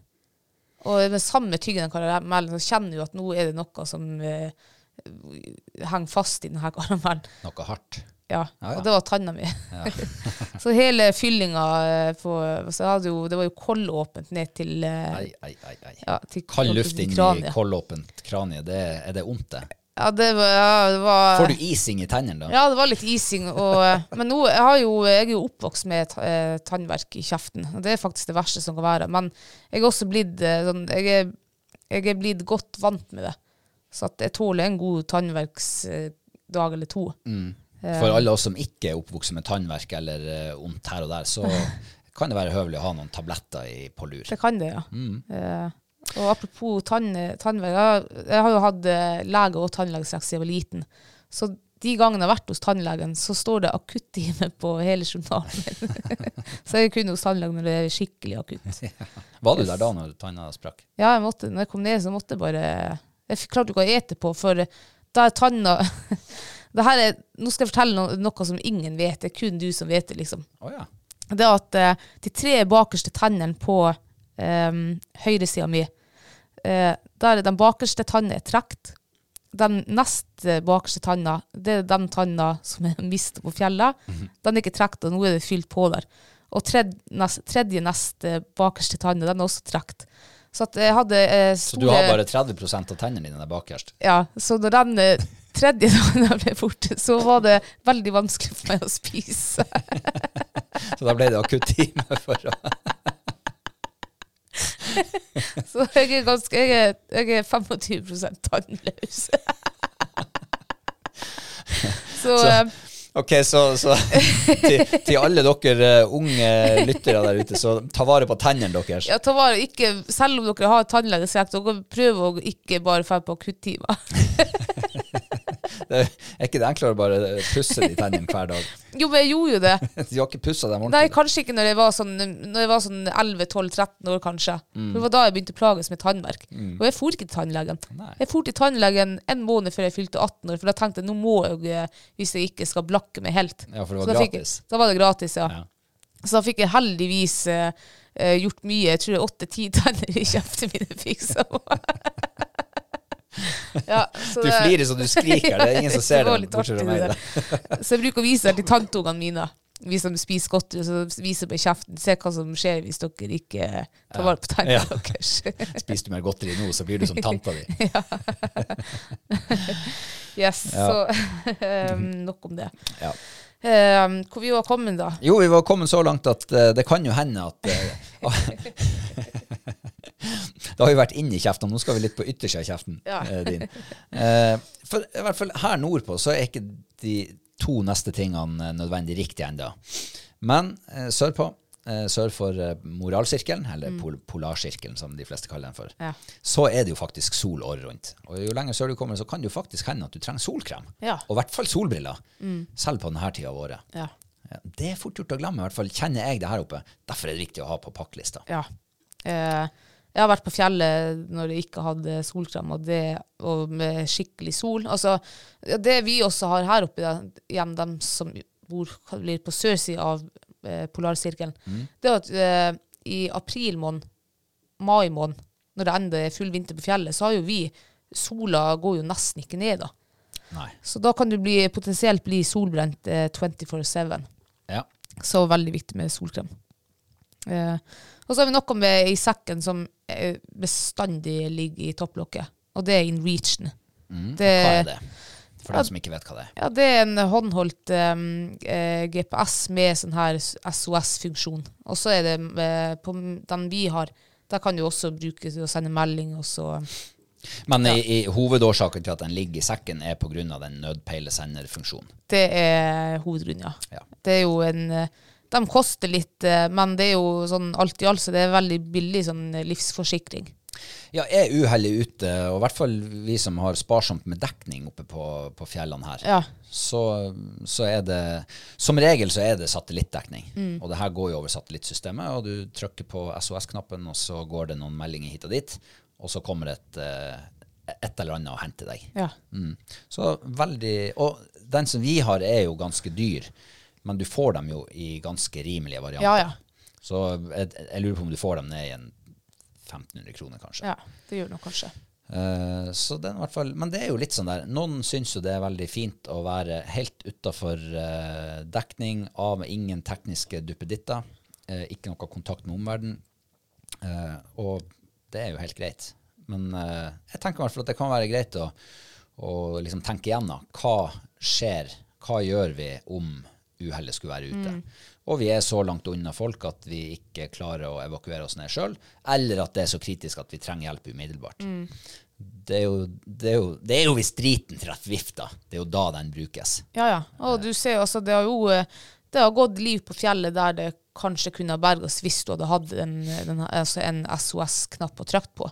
Og med samme tyggen av karamellen, så kjenner du at nå er det noe som eh, henger fast i denne karamellen.
Noe hardt.
Ja,
Ja, ja.
og det var tanna mi. så hele fyllinga eh, på så jeg hadde jo, Det var jo kollåpent ned til
Ai,
eh,
ai, ai. ai.
ja, til
Kald luft
til
inn i
kraniet.
kollåpent kranie, det, er det vondt, det?
Ja, det var, ja, det var
Får du is inn i tennene da?
Ja, det var litt ising. Og, eh, men nå, jeg, har jo, jeg er jo oppvokst med ta- eh, tannverk i kjeften. Og det er faktisk det verste som kan være. Men jeg er også blitt, eh, sånn, jeg er, jeg er blitt godt vant med det. Så at jeg tåler en god tannverksdag eller to. Eh.
For alle oss som ikke er oppvokst med tannverk eller eh, vondt her og der, så kan det være høvelig å ha noen tabletter i, på lur.
Det kan det, ja. Eh, og apropos tann, tannverk, jeg, jeg har jo hatt eh, lege og tannlegestrekk siden jeg var liten. Så de gangene jeg har vært hos tannlegen, så står det akuttime på hele journalen min. så jeg er kun hos tannlegen når det er skikkelig akutt.
Var du der da når tanna sprakk?
Ja, jeg måtte, når jeg kom ned, så måtte jeg bare Jeg fikk- klarte ikke å ete på, for da er tanna det her er, Nå skal jeg fortelle noe, noe som ingen vet, det er kun du som vet det, liksom
Å ja.
det er at eh, de tre bakerste tennene på um, høyresida mi, eh, der den bakerste tanna er trukket. Den nest eh, bakerste tanna, det er den tanna som er mista på fjellet. Den er ikke trukket, og nå er det fylt på der. Og tredje nest, tredje nest eh, bakerste tanna, den er også trukket. Så at jeg hadde eh,
Så
store
du har bare 30 av tennene dine der bakerst?
ja, så når den eh, tredje dagen jeg ble borte, så var det veldig vanskelig for meg å spise.
Så da ble det akutt time for å
Så jeg er, ganske, jeg er, jeg er 25 tannløs. Så,
Så-
eh,
Ok, så, så til, til alle dere eh, unge lyttere der ute, så ta vare på tennene deres.
ja, ta vare ikke, selv om dere har tannlegeslekt, dere prøv å ikke bare dra på akuttimer.
Det er ikke det enklere å bare eh, pusse de tennene hver dag?
Jo, men jeg gjorde jo det.
Du har ikke pussa dem
Nei,
ordentlig?
kanskje ikke når jeg var sånn, når jeg var sånn 11-12-13 år, kanskje.
Mm.
For Det var da jeg begynte å plages med tannverk. Og jeg for ikke til tannlegen.
Nei.
Jeg for til tannlegen en måned før jeg fylte 18 år, for da tenkte jeg nå må jeg, eh, hvis jeg ikke skal blakke meg helt.
Ja, for det
Så
var
da fikk
gratis.
Jeg, da var det gratis, ja.
Ja.
Så da fikk jeg heldigvis eh, eh, gjort mye. Jeg tror det er åtte-ti tenner i kjeften min jeg fikk. Så. ja, så
Du
det-
flirer så du skriker, det er ingen som
Det
ser
var
det.
litt
bortsett fra
artig,
meg.
det Så jeg bruker å vise det til tanteungene mine. Hvis de spiser godteri, så viser de meg kjeften. Se hva som skjer hvis dere ikke tar vare på tennene
Ja.
deres.
Spiser du mer godteri nå, så blir du som tanta di.
Yes,
Ja.
så ehm, nok om det.
Ja.
Ehm, hvor vi var kommet da?
Jo, vi var kommet så langt at eh, det kan jo hende at eh, Det har jo vært inni kjeften, nå skal vi litt på yttersida av kjeften
Ja.
eh, din. Eh, for i hvert fall her nordpå så er ikke de to neste tingene eh, nødvendig riktig ennå. Men eh, sørpå, eh, sør for eh, moralsirkelen, eller pol polarsirkelen som de fleste kaller den for,
Ja.
så er det jo faktisk sol året rundt. Og jo lenger sør du kommer, så kan det jo faktisk hende at du trenger solkrem.
Ja.
Og i hvert fall solbriller. Selv på denne tida av året.
Ja.
Ja, Det er fort gjort å glemme, i hvert fall kjenner jeg det her oppe. Derfor er det viktig å ha på pakklista.
ja. Eh, jeg har vært på fjellet når jeg ikke hadde solkrem, og, det, og med skikkelig sol. Altså, ja, det vi også har her oppe, da, igjen dem som bor hva det blir på sørsida av eh, polarsirkelen, det er at eh, i april måned, mai måned, når det enda er full vinter på fjellet, så har jo vi Sola går jo nesten ikke ned, da.
Nei.
Så da kan du bli, potensielt bli solbrent eh, 24-7.
Ja.
Så veldig viktig med solkrem. Eh, og så har vi noe med i sekken som eh, bestandig ligger i topplokket, og det er in reachen. Det,
Mm, Hva er det? For dem som ikke vet hva det er.
Ja, det er en håndholdt eh, eh, GPS med sånn her SOS-funksjon. Og så er det eh, på den vi har, der kan du også bruke til å sende melding, og så
Men i, i hovedårsaken til at den ligger i sekken, er pga. den nødpeilesenderfunksjonen.
Det er hovedgrunnen, ja.
Ja.
Det er jo en eh, De koster litt, eh, men det er jo sånn alt i alt, så det er veldig billig sånn eh, livsforsikring.
Ja, er uhellet ute, og i hvert fall vi som har sparsomt med dekning oppe på, på fjellene her,
Ja.
så, så er det Som regel så er det satellittdekning.
Mm.
Og det her går jo over satellittsystemet, og du trykker på SOS-knappen, og så går det noen meldinger hit og dit, og så kommer et, eh, et eller annet og henter deg.
ja.
Mm. Så veldig Og den som vi har, er jo ganske dyr, men du får dem jo i ganske rimelige varianter.
Ja, ja.
Så jeg, jeg lurer på om du får dem ned i en 1500 kroner, kanskje.
Ja, det gjør det nok kanskje.
Eh, så den i hvert fall, men det er jo litt sånn der Noen syns jo det er veldig fint å være helt utafor dekning, av med ingen tekniske duppeditter, eh, ikke noe kontakt med omverdenen. Eh, og det er jo helt greit. Men eh, jeg tenker i hvert fall at det kan være greit å, å liksom tenke igjennom. Hva skjer? Hva gjør vi om uhellet skulle være ute? Og vi er så langt unna folk at vi ikke klarer å evakuere oss ned sjøl, eller at det er så kritisk at vi trenger hjelp umiddelbart. Det, er jo, det, er jo, det er jo hvis driten treffer vifta. Det er jo da den brukes.
Ja, ja. Og du ser jo, altså, det har jo eh, det har gått liv på fjellet der det kanskje kunne ha berga oss hvis du hadde hatt en, den, altså en SOS-knapp å trykke på.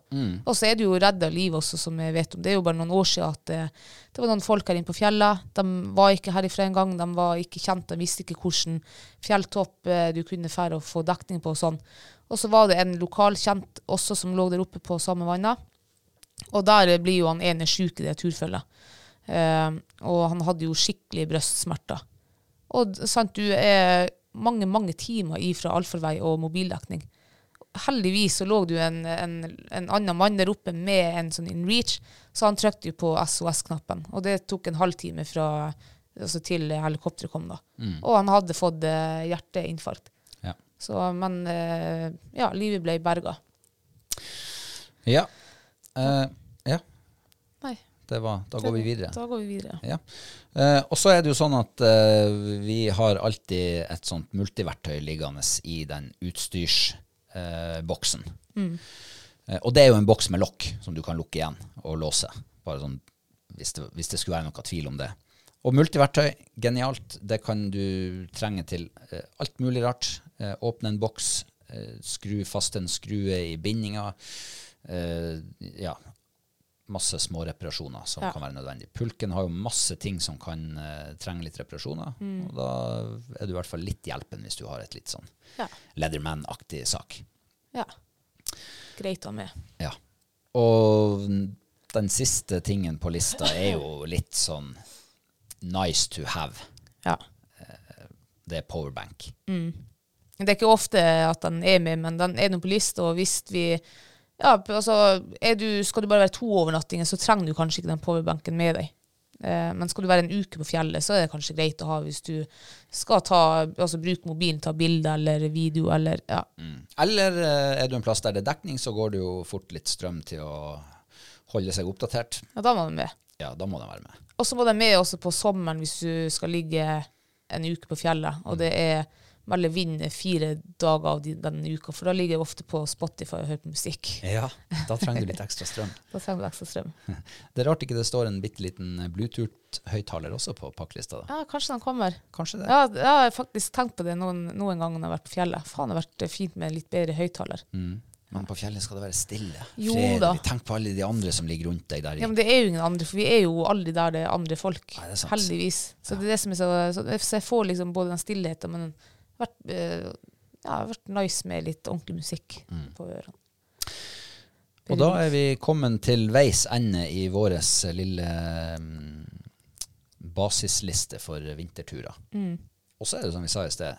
Og så er du jo redd av livet også, som jeg vet om. Det er jo bare noen år siden at det, det var noen folk her inne på fjellet. De var ikke herifra engang. De var ikke kjent. De visste ikke hvilken fjelltopp eh, du kunne fære og få dekning på og sånn. Og så var det en lokal kjent også som lå der oppe på samme vannet. Og der blir jo han ene syk i det turfølget. Eh, og han hadde jo skikkelig brøstsmerter. Og d- sant, du er mange, mange timer ifra allfarvei og mobildekning. Heldigvis så lå det jo en, en, en annen mann der oppe med en sånn inreach, så han trykte jo på SOS-knappen. Og det tok en halvtime fra, altså til helikopteret kom, da. Og han hadde fått eh, hjerteinfarkt.
Ja.
Så, men eh, ja, livet ble berga.
Ja. Eh, ja.
Nei.
det var, da går vi videre.
Da går vi videre.
Ja. Eh, og så er det jo sånn at eh, vi har alltid et sånt multiverktøy liggende i den utstyrsboksen. Eh, og det er jo en boks med lokk som du kan lukke igjen og låse, bare sånn hvis det, hvis det skulle være noe tvil om det. Og multiverktøy, genialt. Det kan du trenge til eh, alt mulig rart. Eh, åpne en boks, eh, skru fast en skrue i bindinga. Eh, ja, masse små reparasjoner som
Ja.
kan være nødvendig. Pulken har jo masse ting som kan eh, trenge litt reparasjoner,
Mm.
og da er du i hvert fall litt hjelpen hvis du har et litt sånn
Ja.
Leatherman-aktig sak.
ja. Greit å ha med.
Ja. Og den siste tingen på lista er jo litt sånn nice to have.
Ja.
Det er powerbank.
Det er ikke ofte at den er med, men den er nå på lista, og hvis vi ja, p- altså, er du, Skal du bare være to overnattinger, så trenger du kanskje ikke den powerbanken med deg. Eh, men skal du være en uke på fjellet, så er det kanskje greit å ha hvis du skal ta, altså, bruke mobilen, ta bilder eller video eller ja.
Eller eh, er du en plass der det er dekning, så går det jo fort litt strøm til å holde seg oppdatert.
ja, da må den med.
Ja, da må den være med.
Og så må den med også på sommeren hvis du skal ligge en uke på fjellet, og det er veldig vind fire dager av de- den uka, for da ligger jeg ofte på Spotify og hører på musikk.
Ja, da trenger du litt ekstra strøm.
Da trenger du ekstra strøm.
Det er rart ikke det står en bitte liten Bluetooth-høyttaler også på pakklista. da.
Ja, kanskje den kommer.
Kanskje det.
Ja, jeg har faktisk tenkt på det noen, noen ganger når jeg har vært på fjellet. Faen, det har vært fint med en litt bedre høyttaler.
Mm. Men på fjellet skal det være stille.
Jo da.
Fredelig. Tenk på alle de andre som ligger rundt deg der. i-
Ja, men det er jo ingen andre, for vi er jo aldri der det er andre folk.
Nei, det er sant.
heldigvis. Så det er det som er så, så, så jeg får liksom både den stillheten, men vært, eh, ja, det har vært nice med litt ordentlig musikk på ørene.
Mm. Og da er vi kommet til veis ende i vår lille mm, basisliste for vinterturer.
Mm.
Og så er det som vi sa i sted,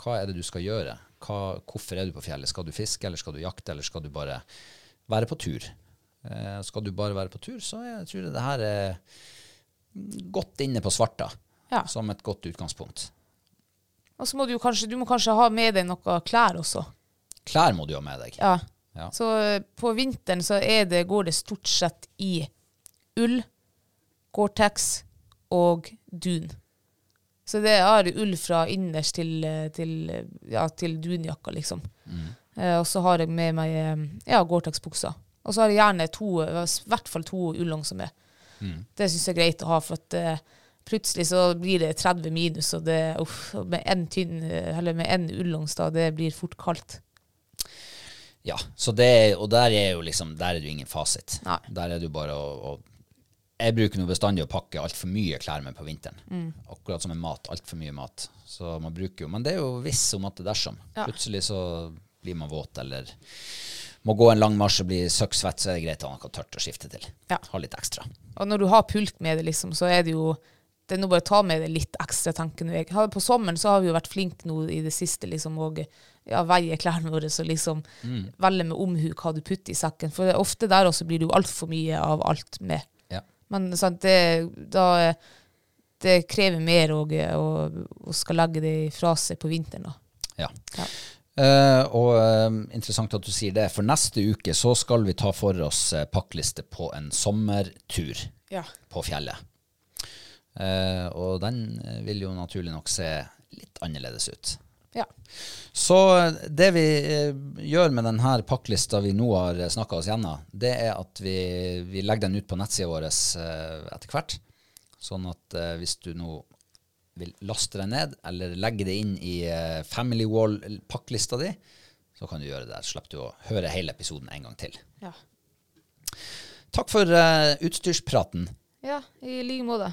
hva er det du skal gjøre? Hva, hvorfor er du på fjellet? Skal du fiske, eller skal du jakte, eller skal du bare være på tur? Eh, skal du bare være på tur, så jeg tror jeg det her er godt inne på svarta,
Ja.
som et godt utgangspunkt.
Og så må du jo kanskje, du må kanskje ha med deg noe klær også.
Klær må du ha med deg.
Ja.
Ja.
Så eh, på vinteren så er det, går det stort sett i ull, Gore-Tex og dun. Så det er ull fra innerst til, eh, til, eh, ja, til dunjakka, liksom.
Mm.
Eh, og så har jeg med meg eh, ja, Gore-Tex-bukser. Og så har jeg gjerne to, eh, i hvert fall to ullongser med.
Mm.
Det syns jeg er greit å ha, for at eh, plutselig så blir det 30 minus, og det, uff, og med én tynn, eh, eller med én ullongs, da, det blir fort kaldt.
Ja, så det, og der er jo liksom, der er det jo ingen fasit.
Nei.
Der er det jo bare å, å Jeg bruker nå bestandig å pakke altfor mye klær med på vinteren.
Mm.
Akkurat som med mat. Altfor mye mat. Så man bruker jo Men det er jo viss om at det er dersom.
Ja.
Plutselig så blir man våt eller må gå en lang marsj og bli søkksvett, så er det greit å ha noe tørt å skifte til.
Ja.
Ha litt ekstra.
Og når du har pulk med det, liksom, så er det jo det er nå bare å ta med det litt ekstra, tenker nå jeg. Har- På sommeren så har vi jo vært flinke nå i det siste, liksom, og ja, veie klærne våre, så liksom
Mm.
velge med omhu hva du putter i sekken. For det er ofte der også blir det jo altfor mye av alt med.
Ja.
Men sant, det, da, det krever mer å, å, å skal legge det fra seg på vinteren. Da.
Ja.
Ja.
Eh, og eh, interessant at du sier det, for neste uke så skal vi ta for oss eh, pakkliste på en sommertur
Ja.
på fjellet. Eh, og den eh, vil jo naturlig nok se litt annerledes ut.
Ja.
Så eh, det vi eh, gjør med denne pakklista vi nå har snakka oss gjennom, det er at vi, vi legger den ut på nettsida vår eh, etter hvert. Sånn at eh, hvis du nå vil laste den ned, eller legge det inn i eh, Family Wall-pakklista di, så kan du gjøre det der. Slipper du å høre hele episoden en gang til.
Ja.
Takk for eh, utstyrspraten.
ja, i like måte.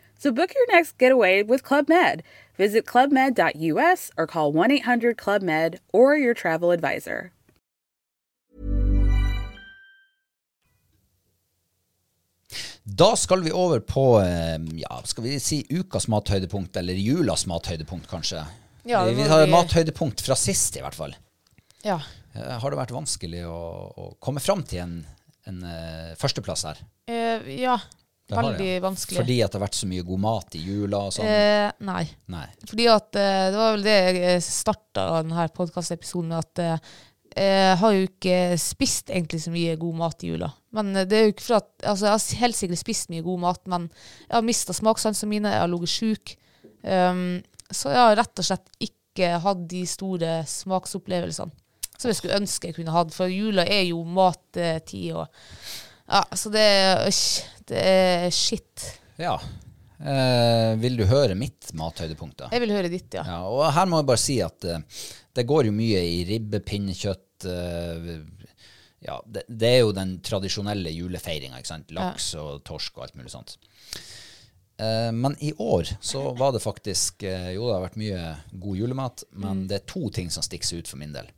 So book your next getaway with Club Med. Visit clubmed.us or call 1 800 Club Med or your travel advisor.
Da skal vi over på eh, ja, skal vi si ukas mathøydepunkt, eller julas mathøydepunkt, kanskje. Eh,
Ja, det
vi
må
tar
vi-
mathøydepunkt fra sist, i hvert fall.
Ja.
Eh, Har det vært vanskelig å, å komme fram til en, en eh, førsteplass her?
Eh, ja.
Det har
Veldig
jeg.
vanskelig.
Fordi at det har vært så mye god mat i jula og sånn?
Eh, nei.
Nei.
Fordi at eh, Det var vel det jeg starta denne podkastepisoden med, at eh, jeg har jo ikke spist egentlig så mye god mat i jula. Men eh, det er jo ikke for at Altså, jeg har helt sikkert spist mye god mat, men jeg har mista smakssansene mine, jeg har ligget sjuk. Um, så jeg har rett og slett ikke hatt de store smaksopplevelsene som jeg skulle ønske jeg kunne hatt, for jula er jo mattid og Ja, så det er Øsj. Det er shit.
Ja. Eh, vil du høre mitt mathøydepunkt, da?
Jeg vil høre ditt, ja.
Ja, og her må jeg bare si at eh, det går jo mye i ribbe, pinnekjøtt eh, ja, det, det er jo den tradisjonelle julefeiringa. ikke sant? Laks og torsk og alt mulig sånt. Eh, men i år så var det faktisk eh, Jo, det har vært mye god julemat, men det er to ting som stikker seg ut for min del.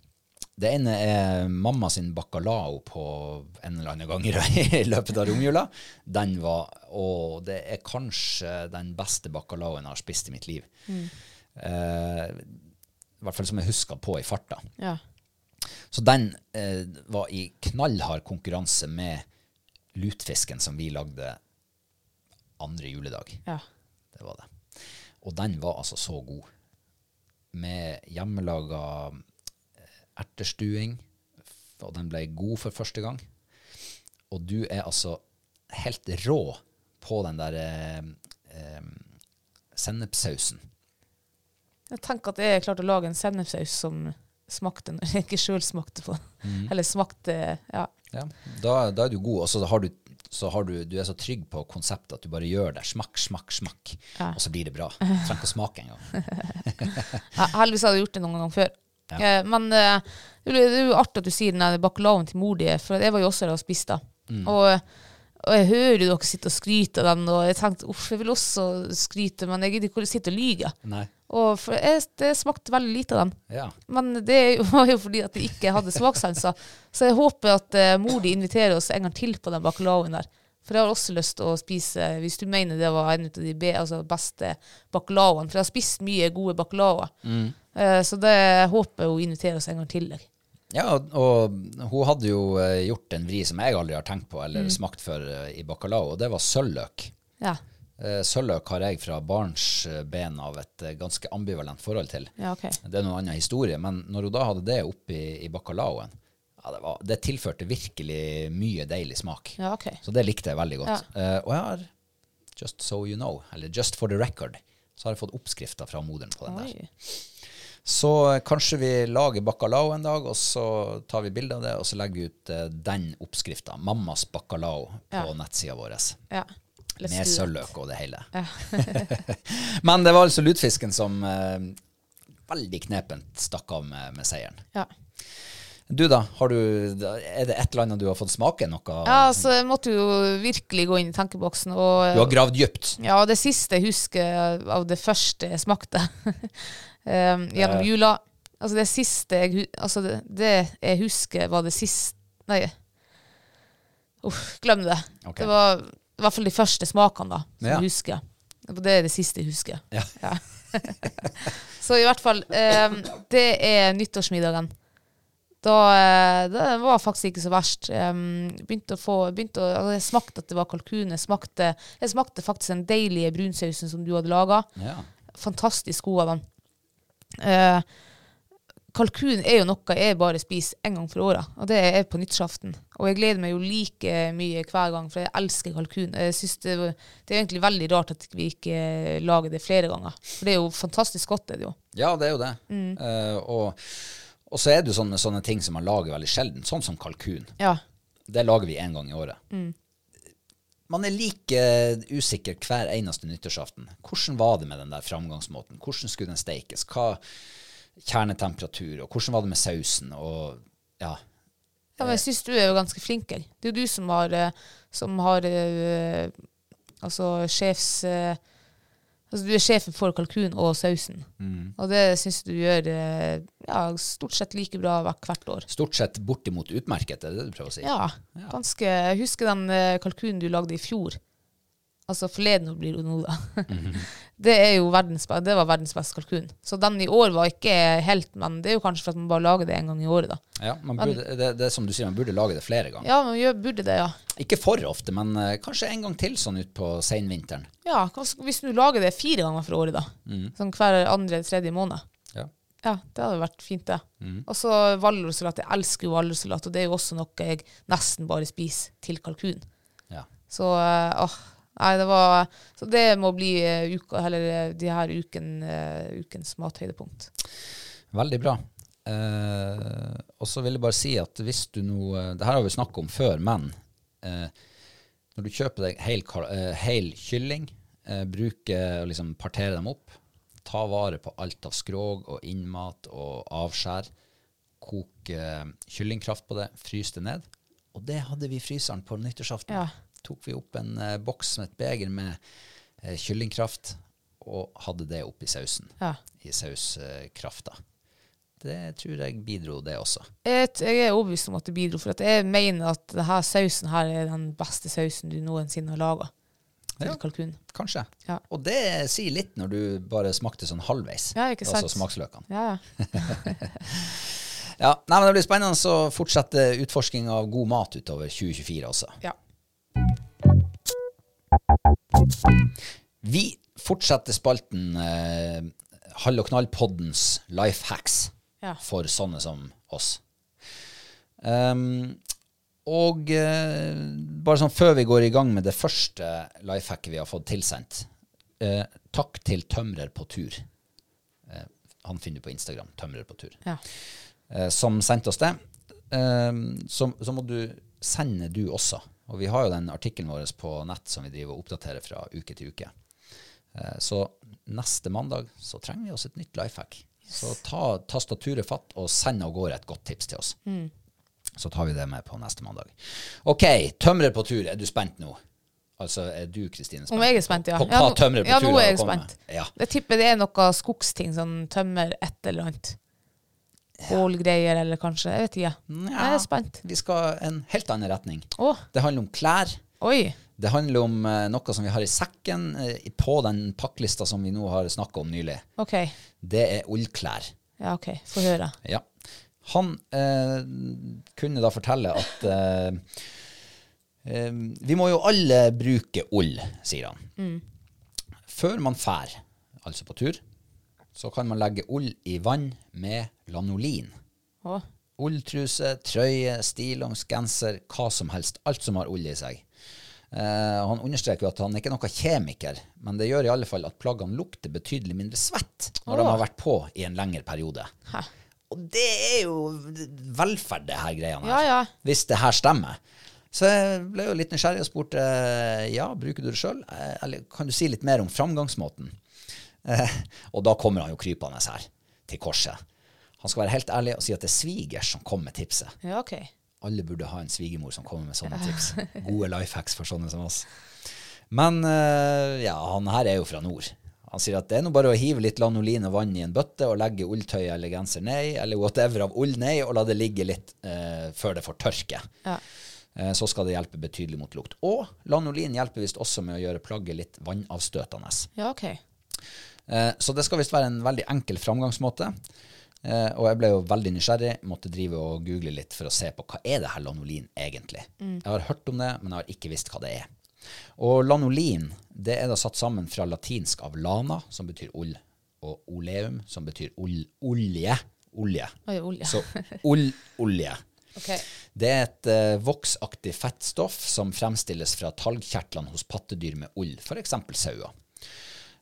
Det ene er mamma sin bacalao på en eller annen gang i rø- i løpet av romjula. Den var, Og det er kanskje den beste bacalaoen jeg har spist i mitt liv. Eh, I hvert fall som jeg husker på i farta.
ja.
Så den eh, var i knallhard konkurranse med lutfisken som vi lagde andre juledag.
ja.
Det var det. Og den var altså så god. Med hjemmelaga eh, ertestuing, og den ble god for første gang. Og du er altså helt rå på den der eh, eh, sennepssausen.
Jeg tenker at jeg klarte å lage en sennepsaus som smakte når jeg ikke sjøl smakte på den. Eller smakte Ja.
Ja, da, da er du god, og så har du så har du, du er så trygg på konseptet at du bare gjør det. Smakk, smakk, smakk.
Ja.
Og så blir det bra. Du trenger ikke å smake engang.
Ja, Heldigvis hadde jeg gjort det noen ganger før. Eh, Men eh, det er jo- det er jo artig at du sier den der bacalaoen til mor di, for jeg var jo også der og spiste. den. Og, og jeg hører jo dere sitte og skryte av den, og jeg tenkte uff, jeg vil også skryte, men jeg gidder ikke å sitte og lyge.
Nei.
Og for jeg, det smakte veldig lite av den.
Ja.
Men det er jo- var jo fordi at jeg ikke hadde smakssanser. Så jeg håper at eh, mor di inviterer oss en gang til på den bacalaoen der. For jeg har også lyst til å spise, eh, hvis du mener det var en av de be, altså beste bacalaoene. For jeg har spist mye gode bacalaoer.
Mm.
Eh, så det håper jeg hun inviterer oss en gang til. jeg.
ja, og, og hun hadde jo eh, gjort en vri som jeg aldri har tenkt på
Mm.
eller smakt før eh, i bacalao, og det var sølvløk.
Ja.
Eh, Sølvløk har jeg fra barnsben av et eh, ganske ambivalent forhold til.
Ja, ok.
Det er noen annen historie, men når hun da hadde det oppi i bacalaoen, ja, det, var, det tilførte virkelig mye deilig smak.
Ja, ok.
Så det likte jeg veldig godt. Eh, og jeg har, just so you know, eller just for the record, så har jeg fått oppskrifta fra moderen på den der.
Oi.
Så eh, kanskje vi lager bacalao en dag, og så tar vi bilde av det, og så legger vi ut eh, den oppskrifta, mammas bacalao, på
Ja.
nettsida vår.
Ja. Let's do
Med
it.
sølvløk og det hele. Men det var altså lutfisken som eh, veldig knepent stakk av med, med seieren.
Ja.
Du da, har du, er det et eller annet du har fått smake noe?
ja, så jeg måtte jo virkelig gå inn i tenkeboksen. Og, eh,
Du har gravd dypt.
Ja, og det siste jeg husker av det første jeg smakte um, gjennom jula Altså, det siste jeg, hu- altså det, det jeg husker, var det siste Nei. Uff, glem det.
Ok.
Det var i hvert fall de første smakene da, som
Ja.
jeg husker. Og Det er det siste jeg husker.
Ja.
Så i hvert fall um, Det er ehm, nyttårsmiddagen. Da, eh, det var faktisk ikke så verst. Um, begynte å få, begynte å, altså jeg smakte at det var kalkun. Jeg smakte, jeg smakte faktisk den deilige brunsausen som du hadde laga.
Ja.
Fantastisk god av den. Eh, kalkun er jo noe jeg bare spiser en gang for året, og det er på nyttårsaften. Og jeg gleder meg jo like mye hver gang, for jeg elsker kalkun. Jeg synes det, var- det er egentlig veldig rart at vi ikke lager det flere ganger, for det er jo fantastisk godt. det er det jo.
ja, det er jo det. Eh, og, og så er det jo sånne, sånne ting som man lager veldig sjelden, sånn som kalkun.
Ja.
Det lager vi én gang i året. Man er like usikker hver eneste nyttårsaften. Hvordan var det med den der framgangsmåten? Hvordan skulle den steikes? Hva kjernetemperatur, og hvordan var det med sausen? Og ja,
Ja, men jeg syns du er jo ganske flink her. Det er jo du som har, eh, som har eh, Altså sjefs... eh, Altså, du er sjefen for kalkun og sausen, og det syns du gjør eh, ja, stort sett like bra hvert- hvert år.
stort sett bortimot utmerket, er det det du prøver å si?
Ja, ganske. Jeg husker den eh, kalkunen du lagde i fjor. Altså forleden år blir det nå, da. det, er jo verdens, be- det var verdens beste kalkun. Så den i år var ikke helt, men det er jo kanskje for at man bare lager det en gang i året, da.
Ja, man burde, det, det er som du sier, man burde lage det flere ganger.
Ja, man gjør, burde det, ja.
Ikke for ofte, men eh, kanskje en gang til sånn ut på seinvinteren.
Ja, kanskje, Hvis du lager det fire ganger for året, da. Sånn hver andre, tredje måned.
Ja.
Ja, det hadde vært fint, det. Og så valdorsalat. Jeg elsker jo valdorsalat, og det er jo også noe jeg nesten bare spiser til kalkun.
Ja.
Så eh, åh, nei, det var Så det må bli eh, uka, eller eh, de her uken, eh, ukens mathøydepunkt.
Veldig bra. Eh, og så vil jeg bare si at hvis du nå eh, Det her har vi snakket om før, men eh, når du kjøper deg hel, kar- eh, hel kylling, eh, bruker og liksom parterer dem opp, ta vare på alt av skrog og innmat og avskjær, kok eh, kyllingkraft på det, frys det ned. Og det hadde vi i fryseren på nyttårsaften.
Ja.
Tok vi opp en eh, boks med et beger med eh, kyllingkraft og hadde det oppi sausen
Ja.
i sauskrafta. Det tror jeg bidro, det også.
Jeg, t- jeg er overbevist om at det bidro, for at jeg mener at denne sausen her er den beste sausen du noensinne har laga til
Ja.
kalkun.
Kanskje.
Ja.
Og det sier litt når du bare smakte sånn halvveis.
Ja, ikke sant.
Altså smaksløkene.
Ja, ja.
Ja, nei, men Det blir spennende å fortsette utforsking av god mat utover altså. 2024 også.
ja.
Vi fortsetter spalten eh, Hall og knall-poddens life hacks
Ja.
for sånne som oss. Ehm, og eh, bare sånn før vi går i gang med det første life hacket vi har fått tilsendt eh, Takk til Tømrer på tur. Eh, han finner du på Instagram. Tømrer på tur
ja.
eh, som sendte oss det, eh, så, så må du sende du også. Og vi har jo den artikkelen vår på nett som vi driver og oppdaterer fra uke til uke. Eh, så neste mandag så trenger vi oss et nytt life hack. Så ta tastaturet fatt og send av gårde et godt tips til oss.
Mm.
Så tar vi det med på neste mandag. OK, tømrer på tur. Er du spent nå? Altså, er du, Kristine, spent?
Om jeg er spent, ja.
På
Ja,
hva
nå-
tømrer på
ja,
tur
nå er
har
jeg
kommet med?
spent.
Ja.
Jeg tipper det er noe skogsting, sånn tømmer et eller annet. Bålgreier eller kanskje, jeg vet ikke.
Nja.
Jeg er spent.
Vi skal en helt annen retning.
Å,
Det handler om klær.
oi.
Det handler om eh, noe som vi har i sekken eh, på den pakklista som vi nå har snakka om nylig.
Ok.
Det er ullklær.
Ja, ok. Få høre.
Ja. Han eh, kunne da fortelle at eh, eh, Vi må jo alle bruke ull, sier han. Før man fær, altså på tur, så kan man legge ull i vann med lanolin.
Å,
Ulltruse, trøye, stillongs, genser, hva som helst. Alt som har ull i seg. Eh, han understreker jo at han er ikke er noen kjemiker, men det gjør i alle fall at plaggene lukter betydelig mindre svett når de har vært på i en lengre periode.
hæ.
Og det er jo velferd, det her greiene her.
Ja, ja.
Hvis det her stemmer. Så jeg ble jo litt nysgjerrig og spurte eh, ja, bruker du det sjøl, eller kan du si litt mer om framgangsmåten? Eh, og da kommer han jo krypende her, til korset. Han skal være helt ærlig og si at det er svigers som kom med tipset.
Ja, ok.
Alle burde ha en svigermor som kommer med sånne tips. Gode life hacks for sånne som oss. Men eh, ja, han her er jo fra nord. Han sier at det er nå bare å hive litt lanolin og vann i en bøtte og legge ulltøy eller genser ned, eller whatever av ull ned, og la det ligge litt eh, før det får tørke.
Ja.
Eh, så skal det hjelpe betydelig mot lukt. Og lanolin hjelper visst også med å gjøre plagget litt vannavstøtende.
Ja, ok.
Eh, Så det skal visst være en veldig enkel framgangsmåte. Eh, og jeg ble jo veldig nysgjerrig, måtte drive og google litt for å se på hva er det her lanolin egentlig. Jeg har hørt om det, men jeg har ikke visst hva det er. Og lanolin det er da satt sammen fra latinsk av lana, som betyr ull, og oleum, som betyr ol olje. Olje.
Oi, olje.
Så ullolje.
Ok.
Det er et eh, voksaktig fettstoff som fremstilles fra talgkjertlene hos pattedyr med ull, f.eks. sauer.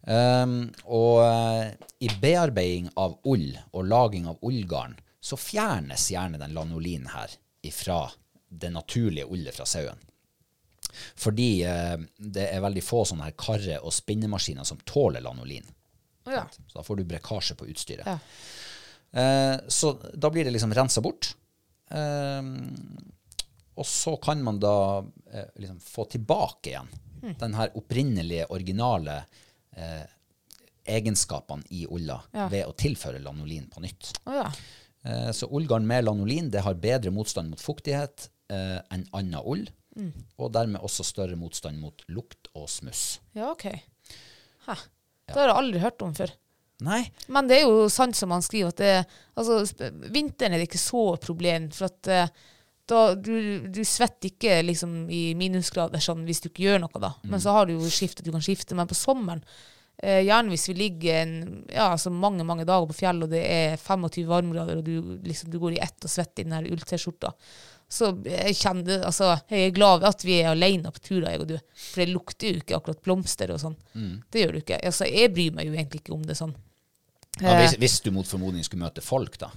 Ehm, og eh, i bearbeiding av ull og laging av ullgarn så fjernes gjerne den lanolinen her fra det naturlige ullet fra sauen. Fordi eh, det er veldig få sånne her karre- og spinnemaskiner som tåler lanolin.
Å ja.
Så da får du brekkasje på utstyret.
Ja.
Eh, så da blir det liksom rensa bort. Eh, og så kan man da eh, liksom få tilbake igjen
Hmm.
den her opprinnelige, originale eh, egenskapene i ulla
Ja.
ved å tilføre lanolin på nytt.
Å ja.
Eh, så ullgarn med lanolin det har bedre motstand mot fuktighet eh, enn anna ull,
Hmm.
og dermed også større motstand mot lukt og smuss.
Ja, OK. Hæ. Det har jeg aldri hørt om før.
Nei,
Men det er jo sant som han skriver, at det, altså, sp- vinteren er det ikke så problem. For at eh, da, du, du svetter ikke liksom, i minusgrader sånn, hvis du ikke gjør noe, da. Men så har du jo skiftet du kan skifte. Men på sommeren, eh, gjerne hvis vi ligger en, ja, altså mange mange dager på fjellet, og det er 25 varmegrader, og du, liksom, du går i ett og svetter i den her ull-T-skjorta, så jeg kjenner, altså, jeg er glad ved at vi er alene på turer, jeg og du. For det lukter jo ikke akkurat blomster og sånn. Det gjør du ikke. Altså, jeg bryr meg jo egentlig ikke om det sånn.
ja,
Eh.
hvis, hvis du mot formodning skulle møte folk, da.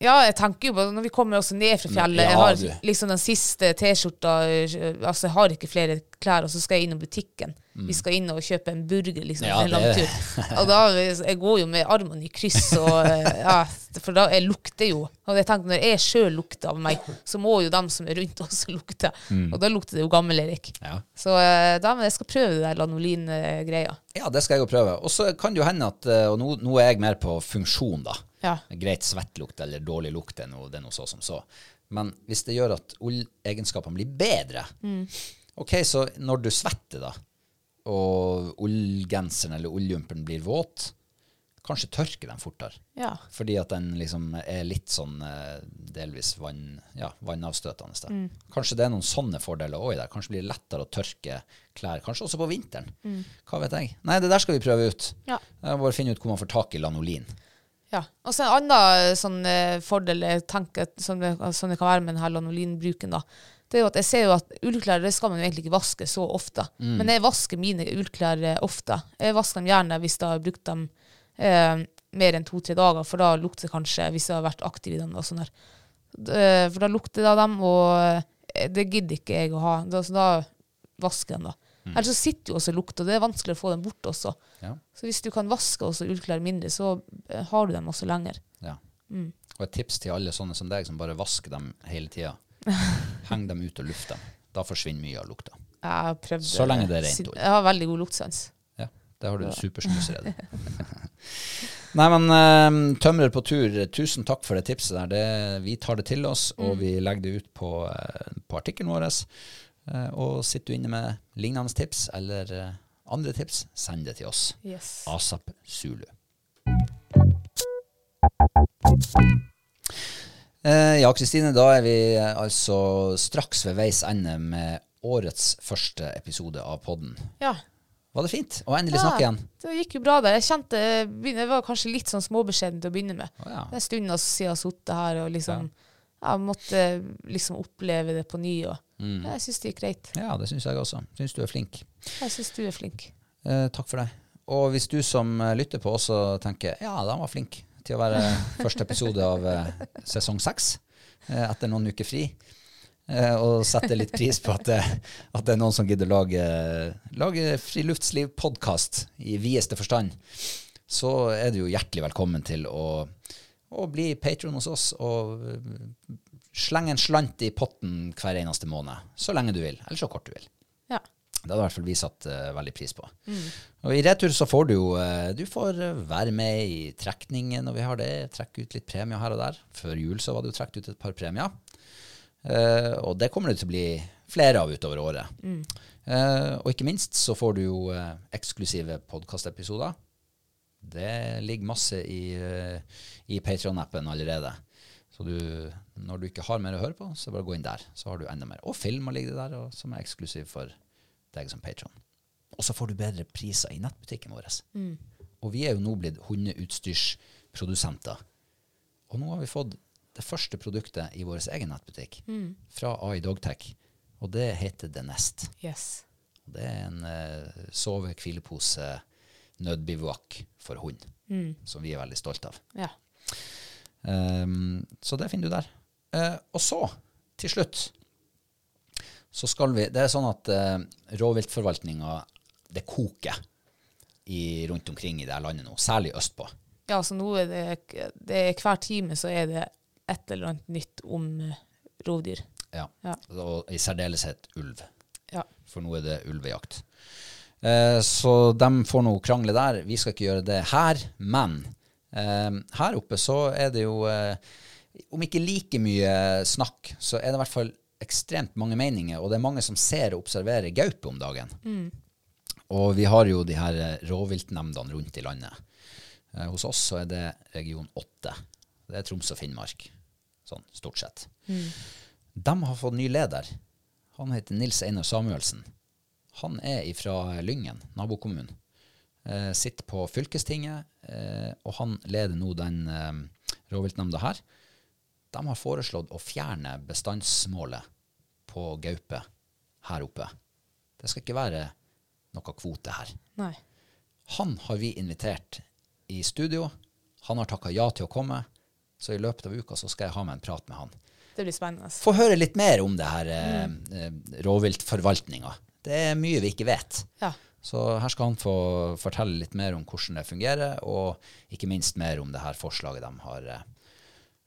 Ja, jeg tenker jo på Når vi kommer også ned fra fjellet
Ja,
Jeg har
du.
liksom den siste T-skjorta eh, Altså, jeg har ikke flere klær, og så skal jeg innom butikken. Vi skal inn og kjøpe en burger, liksom.
Mm. Ja,
Ja, en lang
det-
tur. Og da Jeg går jo med armene i kryss, og eh, ja, for da jeg lukter jo. Og jeg tenker, når jeg sjøl lukter av meg, så må jo dem som er rundt, også lukte. Og da lukter det jo gammel-Erik.
Mm. Ja.
Så eh, da, men jeg skal prøve det der eh, lanolin-greia.
Ja, det skal jeg jo prøve. Og så kan det jo hende at eh, Og nå, nå er jeg mer på funksjon, da.
Ja.
Greit svettlukt eller dårlig lukt, det er noe, det er noe så som så. Men hvis det gjør at ullegenskapene blir bedre Ok, så når du svetter, da, og ullgenseren eller ulljumpen blir våt, kanskje tørker den fortere.
Ja.
Fordi at den liksom er litt sånn eh, delvis vann, ja, vannavstøtende. da. Kanskje det er noen sånne fordeler òg i det. Kanskje blir det lettere å tørke klær. Kanskje også på vinteren. Hva vet jeg. Nei, det der skal vi prøve ut.
Ja.
Jeg må bare finne ut hvor man får tak i lanolin.
Ja. Og så en annen eh, sånn, eh, fordel jeg tenker, at- som, det, som det kan være med denne lanolinbruken, da, det er jo at jeg ser jo at ullklær det skal man jo egentlig ikke vaske så ofte. Men jeg vasker mine ullklær eh, ofte. Jeg vasker dem gjerne hvis jeg har brukt dem eh, mer enn to-tre dager, for da lukter det kanskje hvis jeg har vært aktiv i dem. og sånn der. D- eh, For da lukter det av dem, og eh, det gidder ikke jeg å ha. Da, så da vasker jeg dem, da. Ellers så sitter jo også lukt, og det er vanskelig å få dem bort også.
Ja.
Så hvis du kan vaske også ullklær mindre, så eh, har du dem også lenger.
Ja. Og et tips til alle sånne som deg, som bare vasker dem hele tida. Heng dem ut og luft dem. Da forsvinner mye av lukta.
Jeg har prøvd
Så lenge det er rent
siden-
ull.
Jeg har veldig god luktsans.
Ja, der har du en supersnusredd. Nei, men eh, Tømrer på tur, tusen takk for det tipset der. Det, vi tar det til oss, og vi legger det ut på, eh, på artikkelen vår. Eh, og sitter du inne med lignende tips eller eh, andre tips, send det til oss.
Yes.
ASAP Zulu. Eh, ja, Kristine, da er vi eh, altså straks ved veis ende med årets første episode av podden.
Ja.
Var det fint å endelig
Ja,
snakke igjen?
Det gikk jo bra der. Jeg kjente, jeg begyn- jeg var kanskje litt sånn småbeskjeden til å begynne med.
Å, ja.
Det er stunder siden jeg har sittet her og liksom ja. måtte liksom oppleve det på ny. Og.
Mm.
Jeg syns det gikk greit.
Ja, det syns jeg også. Syns du er flink.
Jeg syns du er flink.
Eh, takk for det. Og hvis du som eh, lytter på også tenker ja, de var flink til å være første episode av eh, sesong seks eh, etter noen uker fri, eh, og setter litt pris på at, det- at det er noen som gidder lage, lage friluftsliv-podkast i videste forstand, så er du jo hjertelig velkommen til å, å bli patron hos oss og eh, slenge en slant i potten hver eneste måned, så lenge du vil, eller så kort du vil.
Ja.
Det hadde i hvert fall vi satt eh, veldig pris på. Og I retur så får du jo eh, Du får eh, være med i trekningen når vi har det. Trekke ut litt premier her og der. Før jul så var det jo trukket ut et par premier. Eh, og det kommer det til å bli flere av utover året. Eh, og ikke minst så får du jo eh, eksklusive podkastepisoder Det ligger masse i, eh, i Patreon-appen allerede. Så du, når du ikke har mer å høre på, så bare gå inn der. Så har du enda mer. Og filmer ligger det der, og, som er eksklusiv for deg som patron. Og så får du bedre priser i nettbutikken vår. Og vi er jo nå blitt hundeutstyrsprodusenter. Og nå har vi fått det første produktet i vår egen nettbutikk fra AI Dogtech. Og det heter The Nest.
Yes.
Og Det er en eh, sove-hvilepose nødbivouak for hund, som vi er veldig stolte av.
Ja.
Ehm, så det finner du der. Eh, og så, til slutt, så skal vi Det er sånn at uh, rovviltforvaltninga, det koker i, rundt omkring i det her landet nå, særlig østpå.
ja, så nå er det, det er Hver time så er det et eller annet nytt om eh, rovdyr.
Ja.
Ja.
Og i særdeleshet ulv.
Ja.
For nå er det ulvejakt. Eh, så de får nå krangle der. Vi skal ikke gjøre det her, men eh, her oppe så er det jo eh, Om ikke like mye snakk, så er det i hvert fall ekstremt mange meninger, og det er mange som ser og observerer gaupe om dagen. Og vi har jo de her eh, rovviltnemndene rundt i landet. Eh, hos oss så er det region 8. Det er Troms og Finnmark, sånn stort sett. De har fått ny leder. Han heter Nils Einar Samuelsen. Han er ifra Lyngen, nabokommunen. Eh, sitter på fylkestinget, eh, og han leder nå den eh, rovviltnemnda her. De har foreslått å fjerne bestandsmålet på gaupe her oppe. Det skal ikke være noe kvote her.
Nei.
Han har vi invitert i studio. Han har takka ja til å komme, så i løpet av uka så skal jeg ha meg en prat med han
Det blir spennende.
få høre litt mer om det her eh, eh, rovviltforvaltninga. Det er mye vi ikke vet.
Ja.
Så her skal han få fortelle litt mer om hvordan det fungerer, og ikke minst mer om det her forslaget de har eh,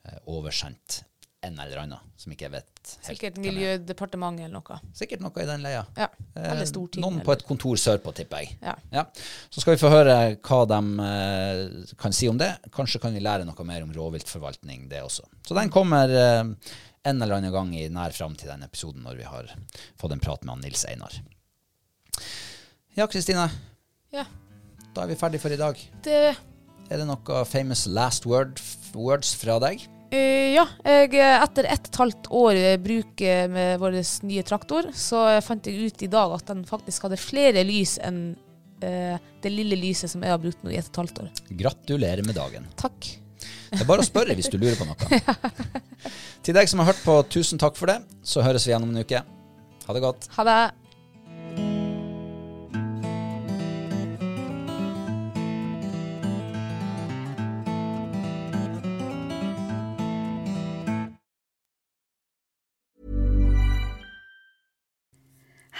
eh, oversendt en eller annen, som ikke jeg vet helt.
Sikkert
hvem er.
Miljødepartementet eller noe.
Sikkert noe i den leia.
Ja.
Eh,
Eller Stortinget.
Noen på et kontor sørpå, tipper jeg.
Ja.
Så skal vi få høre hva de eh, kan si om det. Kanskje kan vi lære noe mer om rovviltforvaltning, det også. Så den kommer eh, en eller annen gang i nær framtid, den episoden, når vi har fått en prat med han Nils Einar. Ja, Kristine.
Ja.
Da er vi ferdig for i dag.
Det
Er det noe famous last word, f- words fra deg?
Eh, ja, jeg, eh, etter ett og et halvt år eh, bruk eh, med vår nye traktor, så eh, fant jeg ut i dag at den faktisk hadde flere lys enn eh, det lille lyset som jeg har brukt nå i ett og et halvt år.
Gratulerer med dagen.
Takk.
Det er bare å spørre hvis du lurer på noe. Til deg som har hørt på, tusen takk for det. Så høres vi igjen om en uke. Ha det godt.
Ha det.